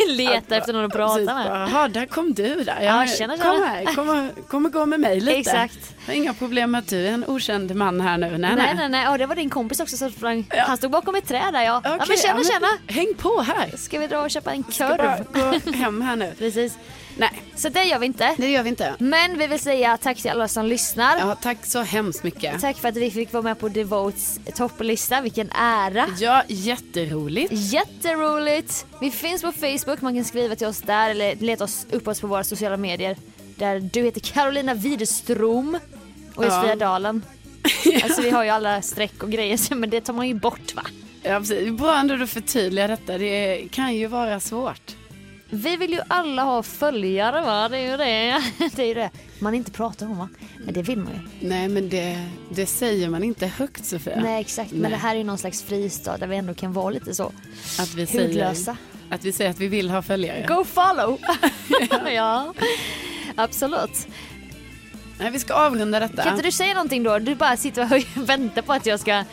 S3: letar efter någon att
S2: precis,
S3: prata med.
S2: bara, Jaha, där kom du där.
S3: Ja,
S2: men
S3: tjena,
S2: kom
S3: tjena.
S2: här, kom och, kom och gå med mig lite.
S3: Exakt.
S2: Jag har Inga problem med att du är en okänd man här nu. Nej,
S3: Nej nej nej, Ja, det var din kompis också som sprang, han stod bakom ett träd där ja. ja
S2: Okej,
S3: men
S2: ja,
S3: tjena tjena,
S2: Häng på här.
S3: ska vi dra och köpa en
S2: Ska bara
S3: korv?
S2: gå hem här
S3: <laughs>
S2: nu.
S3: Precis.
S2: Nej,
S3: Så det gör vi inte.
S2: det gör vi inte.
S3: Men vi vill säga tack till alla som lyssnar.
S2: Ja, tack så hemskt mycket.
S3: Tack för att vi fick vara med på Devotes topplista, vilken ära.
S2: Ja, jätteroligt.
S3: Jätteroligt! Vi finns på Facebook, man kan skriva till oss där eller leta oss upp oss på våra sociala medier. Där du heter Carolina Widerström och Josefia
S2: Ja. <laughs>
S3: Dalen. Alltså vi har ju alla streck och grejer så- men det tar man ju bort va?
S2: Ja, precis. Det är Bra ändå du förtydligar detta. Det kan ju vara svårt.
S3: Vi vill ju alla ha följare va, det är ju det. <laughs> Det är ju det man inte pratar om va? Men det vill man ju.
S2: Nej, men det, det säger man inte högt, Sofia.
S3: Nej exakt, men
S2: Nej.
S3: det här är ju någon slags fristad där vi ändå kan vara lite så
S2: Att vi säger,
S3: hudlösa.
S2: att vi säger att vi vill ha följare.
S3: Go
S2: <laughs>
S3: follow! <laughs> ja, absolut.
S2: Nej, vi ska avrunda detta.
S3: <laughs> Kan inte du säga någonting då? Du bara sitter och höj- väntar på att jag ska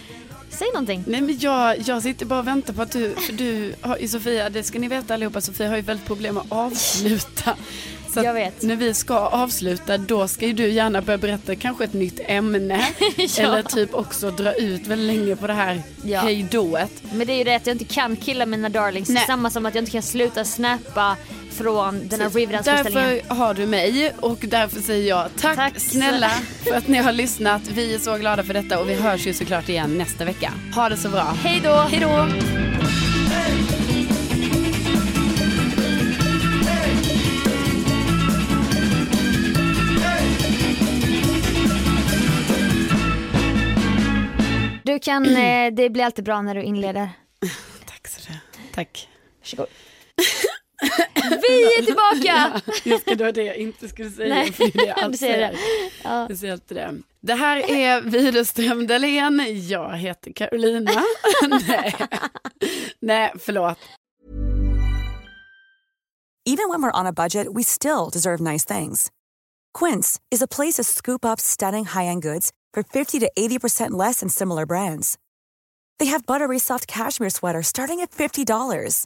S3: Säg någonting.
S2: Nej men jag, jag sitter bara och väntar på att du, för du har ju Sofia, det ska ni veta allihopa, Sofia har ju väldigt problem att avsluta. Så att
S3: Jag vet.
S2: när vi ska avsluta då ska ju du gärna börja berätta kanske ett nytt
S3: <laughs>
S2: ämne. Eller typ också dra ut väldigt länge på det här
S3: Ja.
S2: hejdået.
S3: Men det är ju det att jag inte kan killa mina darlings.
S2: Nej.
S3: Samma som att jag inte kan sluta snappa från den här Riverdance-föreställningen.
S2: Därför har du mig och därför säger jag tack,
S3: Tack
S2: snälla för att ni har lyssnat. Vi är så glada för detta och vi hörs ju såklart igen nästa vecka. Ha det så bra.
S3: Hej då! Hej då! Du kan, eh, det blir alltid bra när du inleder.
S2: Tack så det. Tack.
S3: Varsågod. Vi är tillbaka!
S2: Jag ska dra det jag inte skulle säga.
S3: Nej,
S2: för det är jag
S3: <laughs> du
S2: alltid
S3: säger det.
S2: säger. Jag säger alltid det. Det här är Widerström Dahlén. Jag heter Carolina. <laughs> Nej. Nej, förlåt.
S1: Even when we're on a budget, we still deserve nice things. Quince is a place to scoop up stunning high-end goods for 50 to 80% less than similar brands. They have buttery soft cashmere sweaters starting at $50,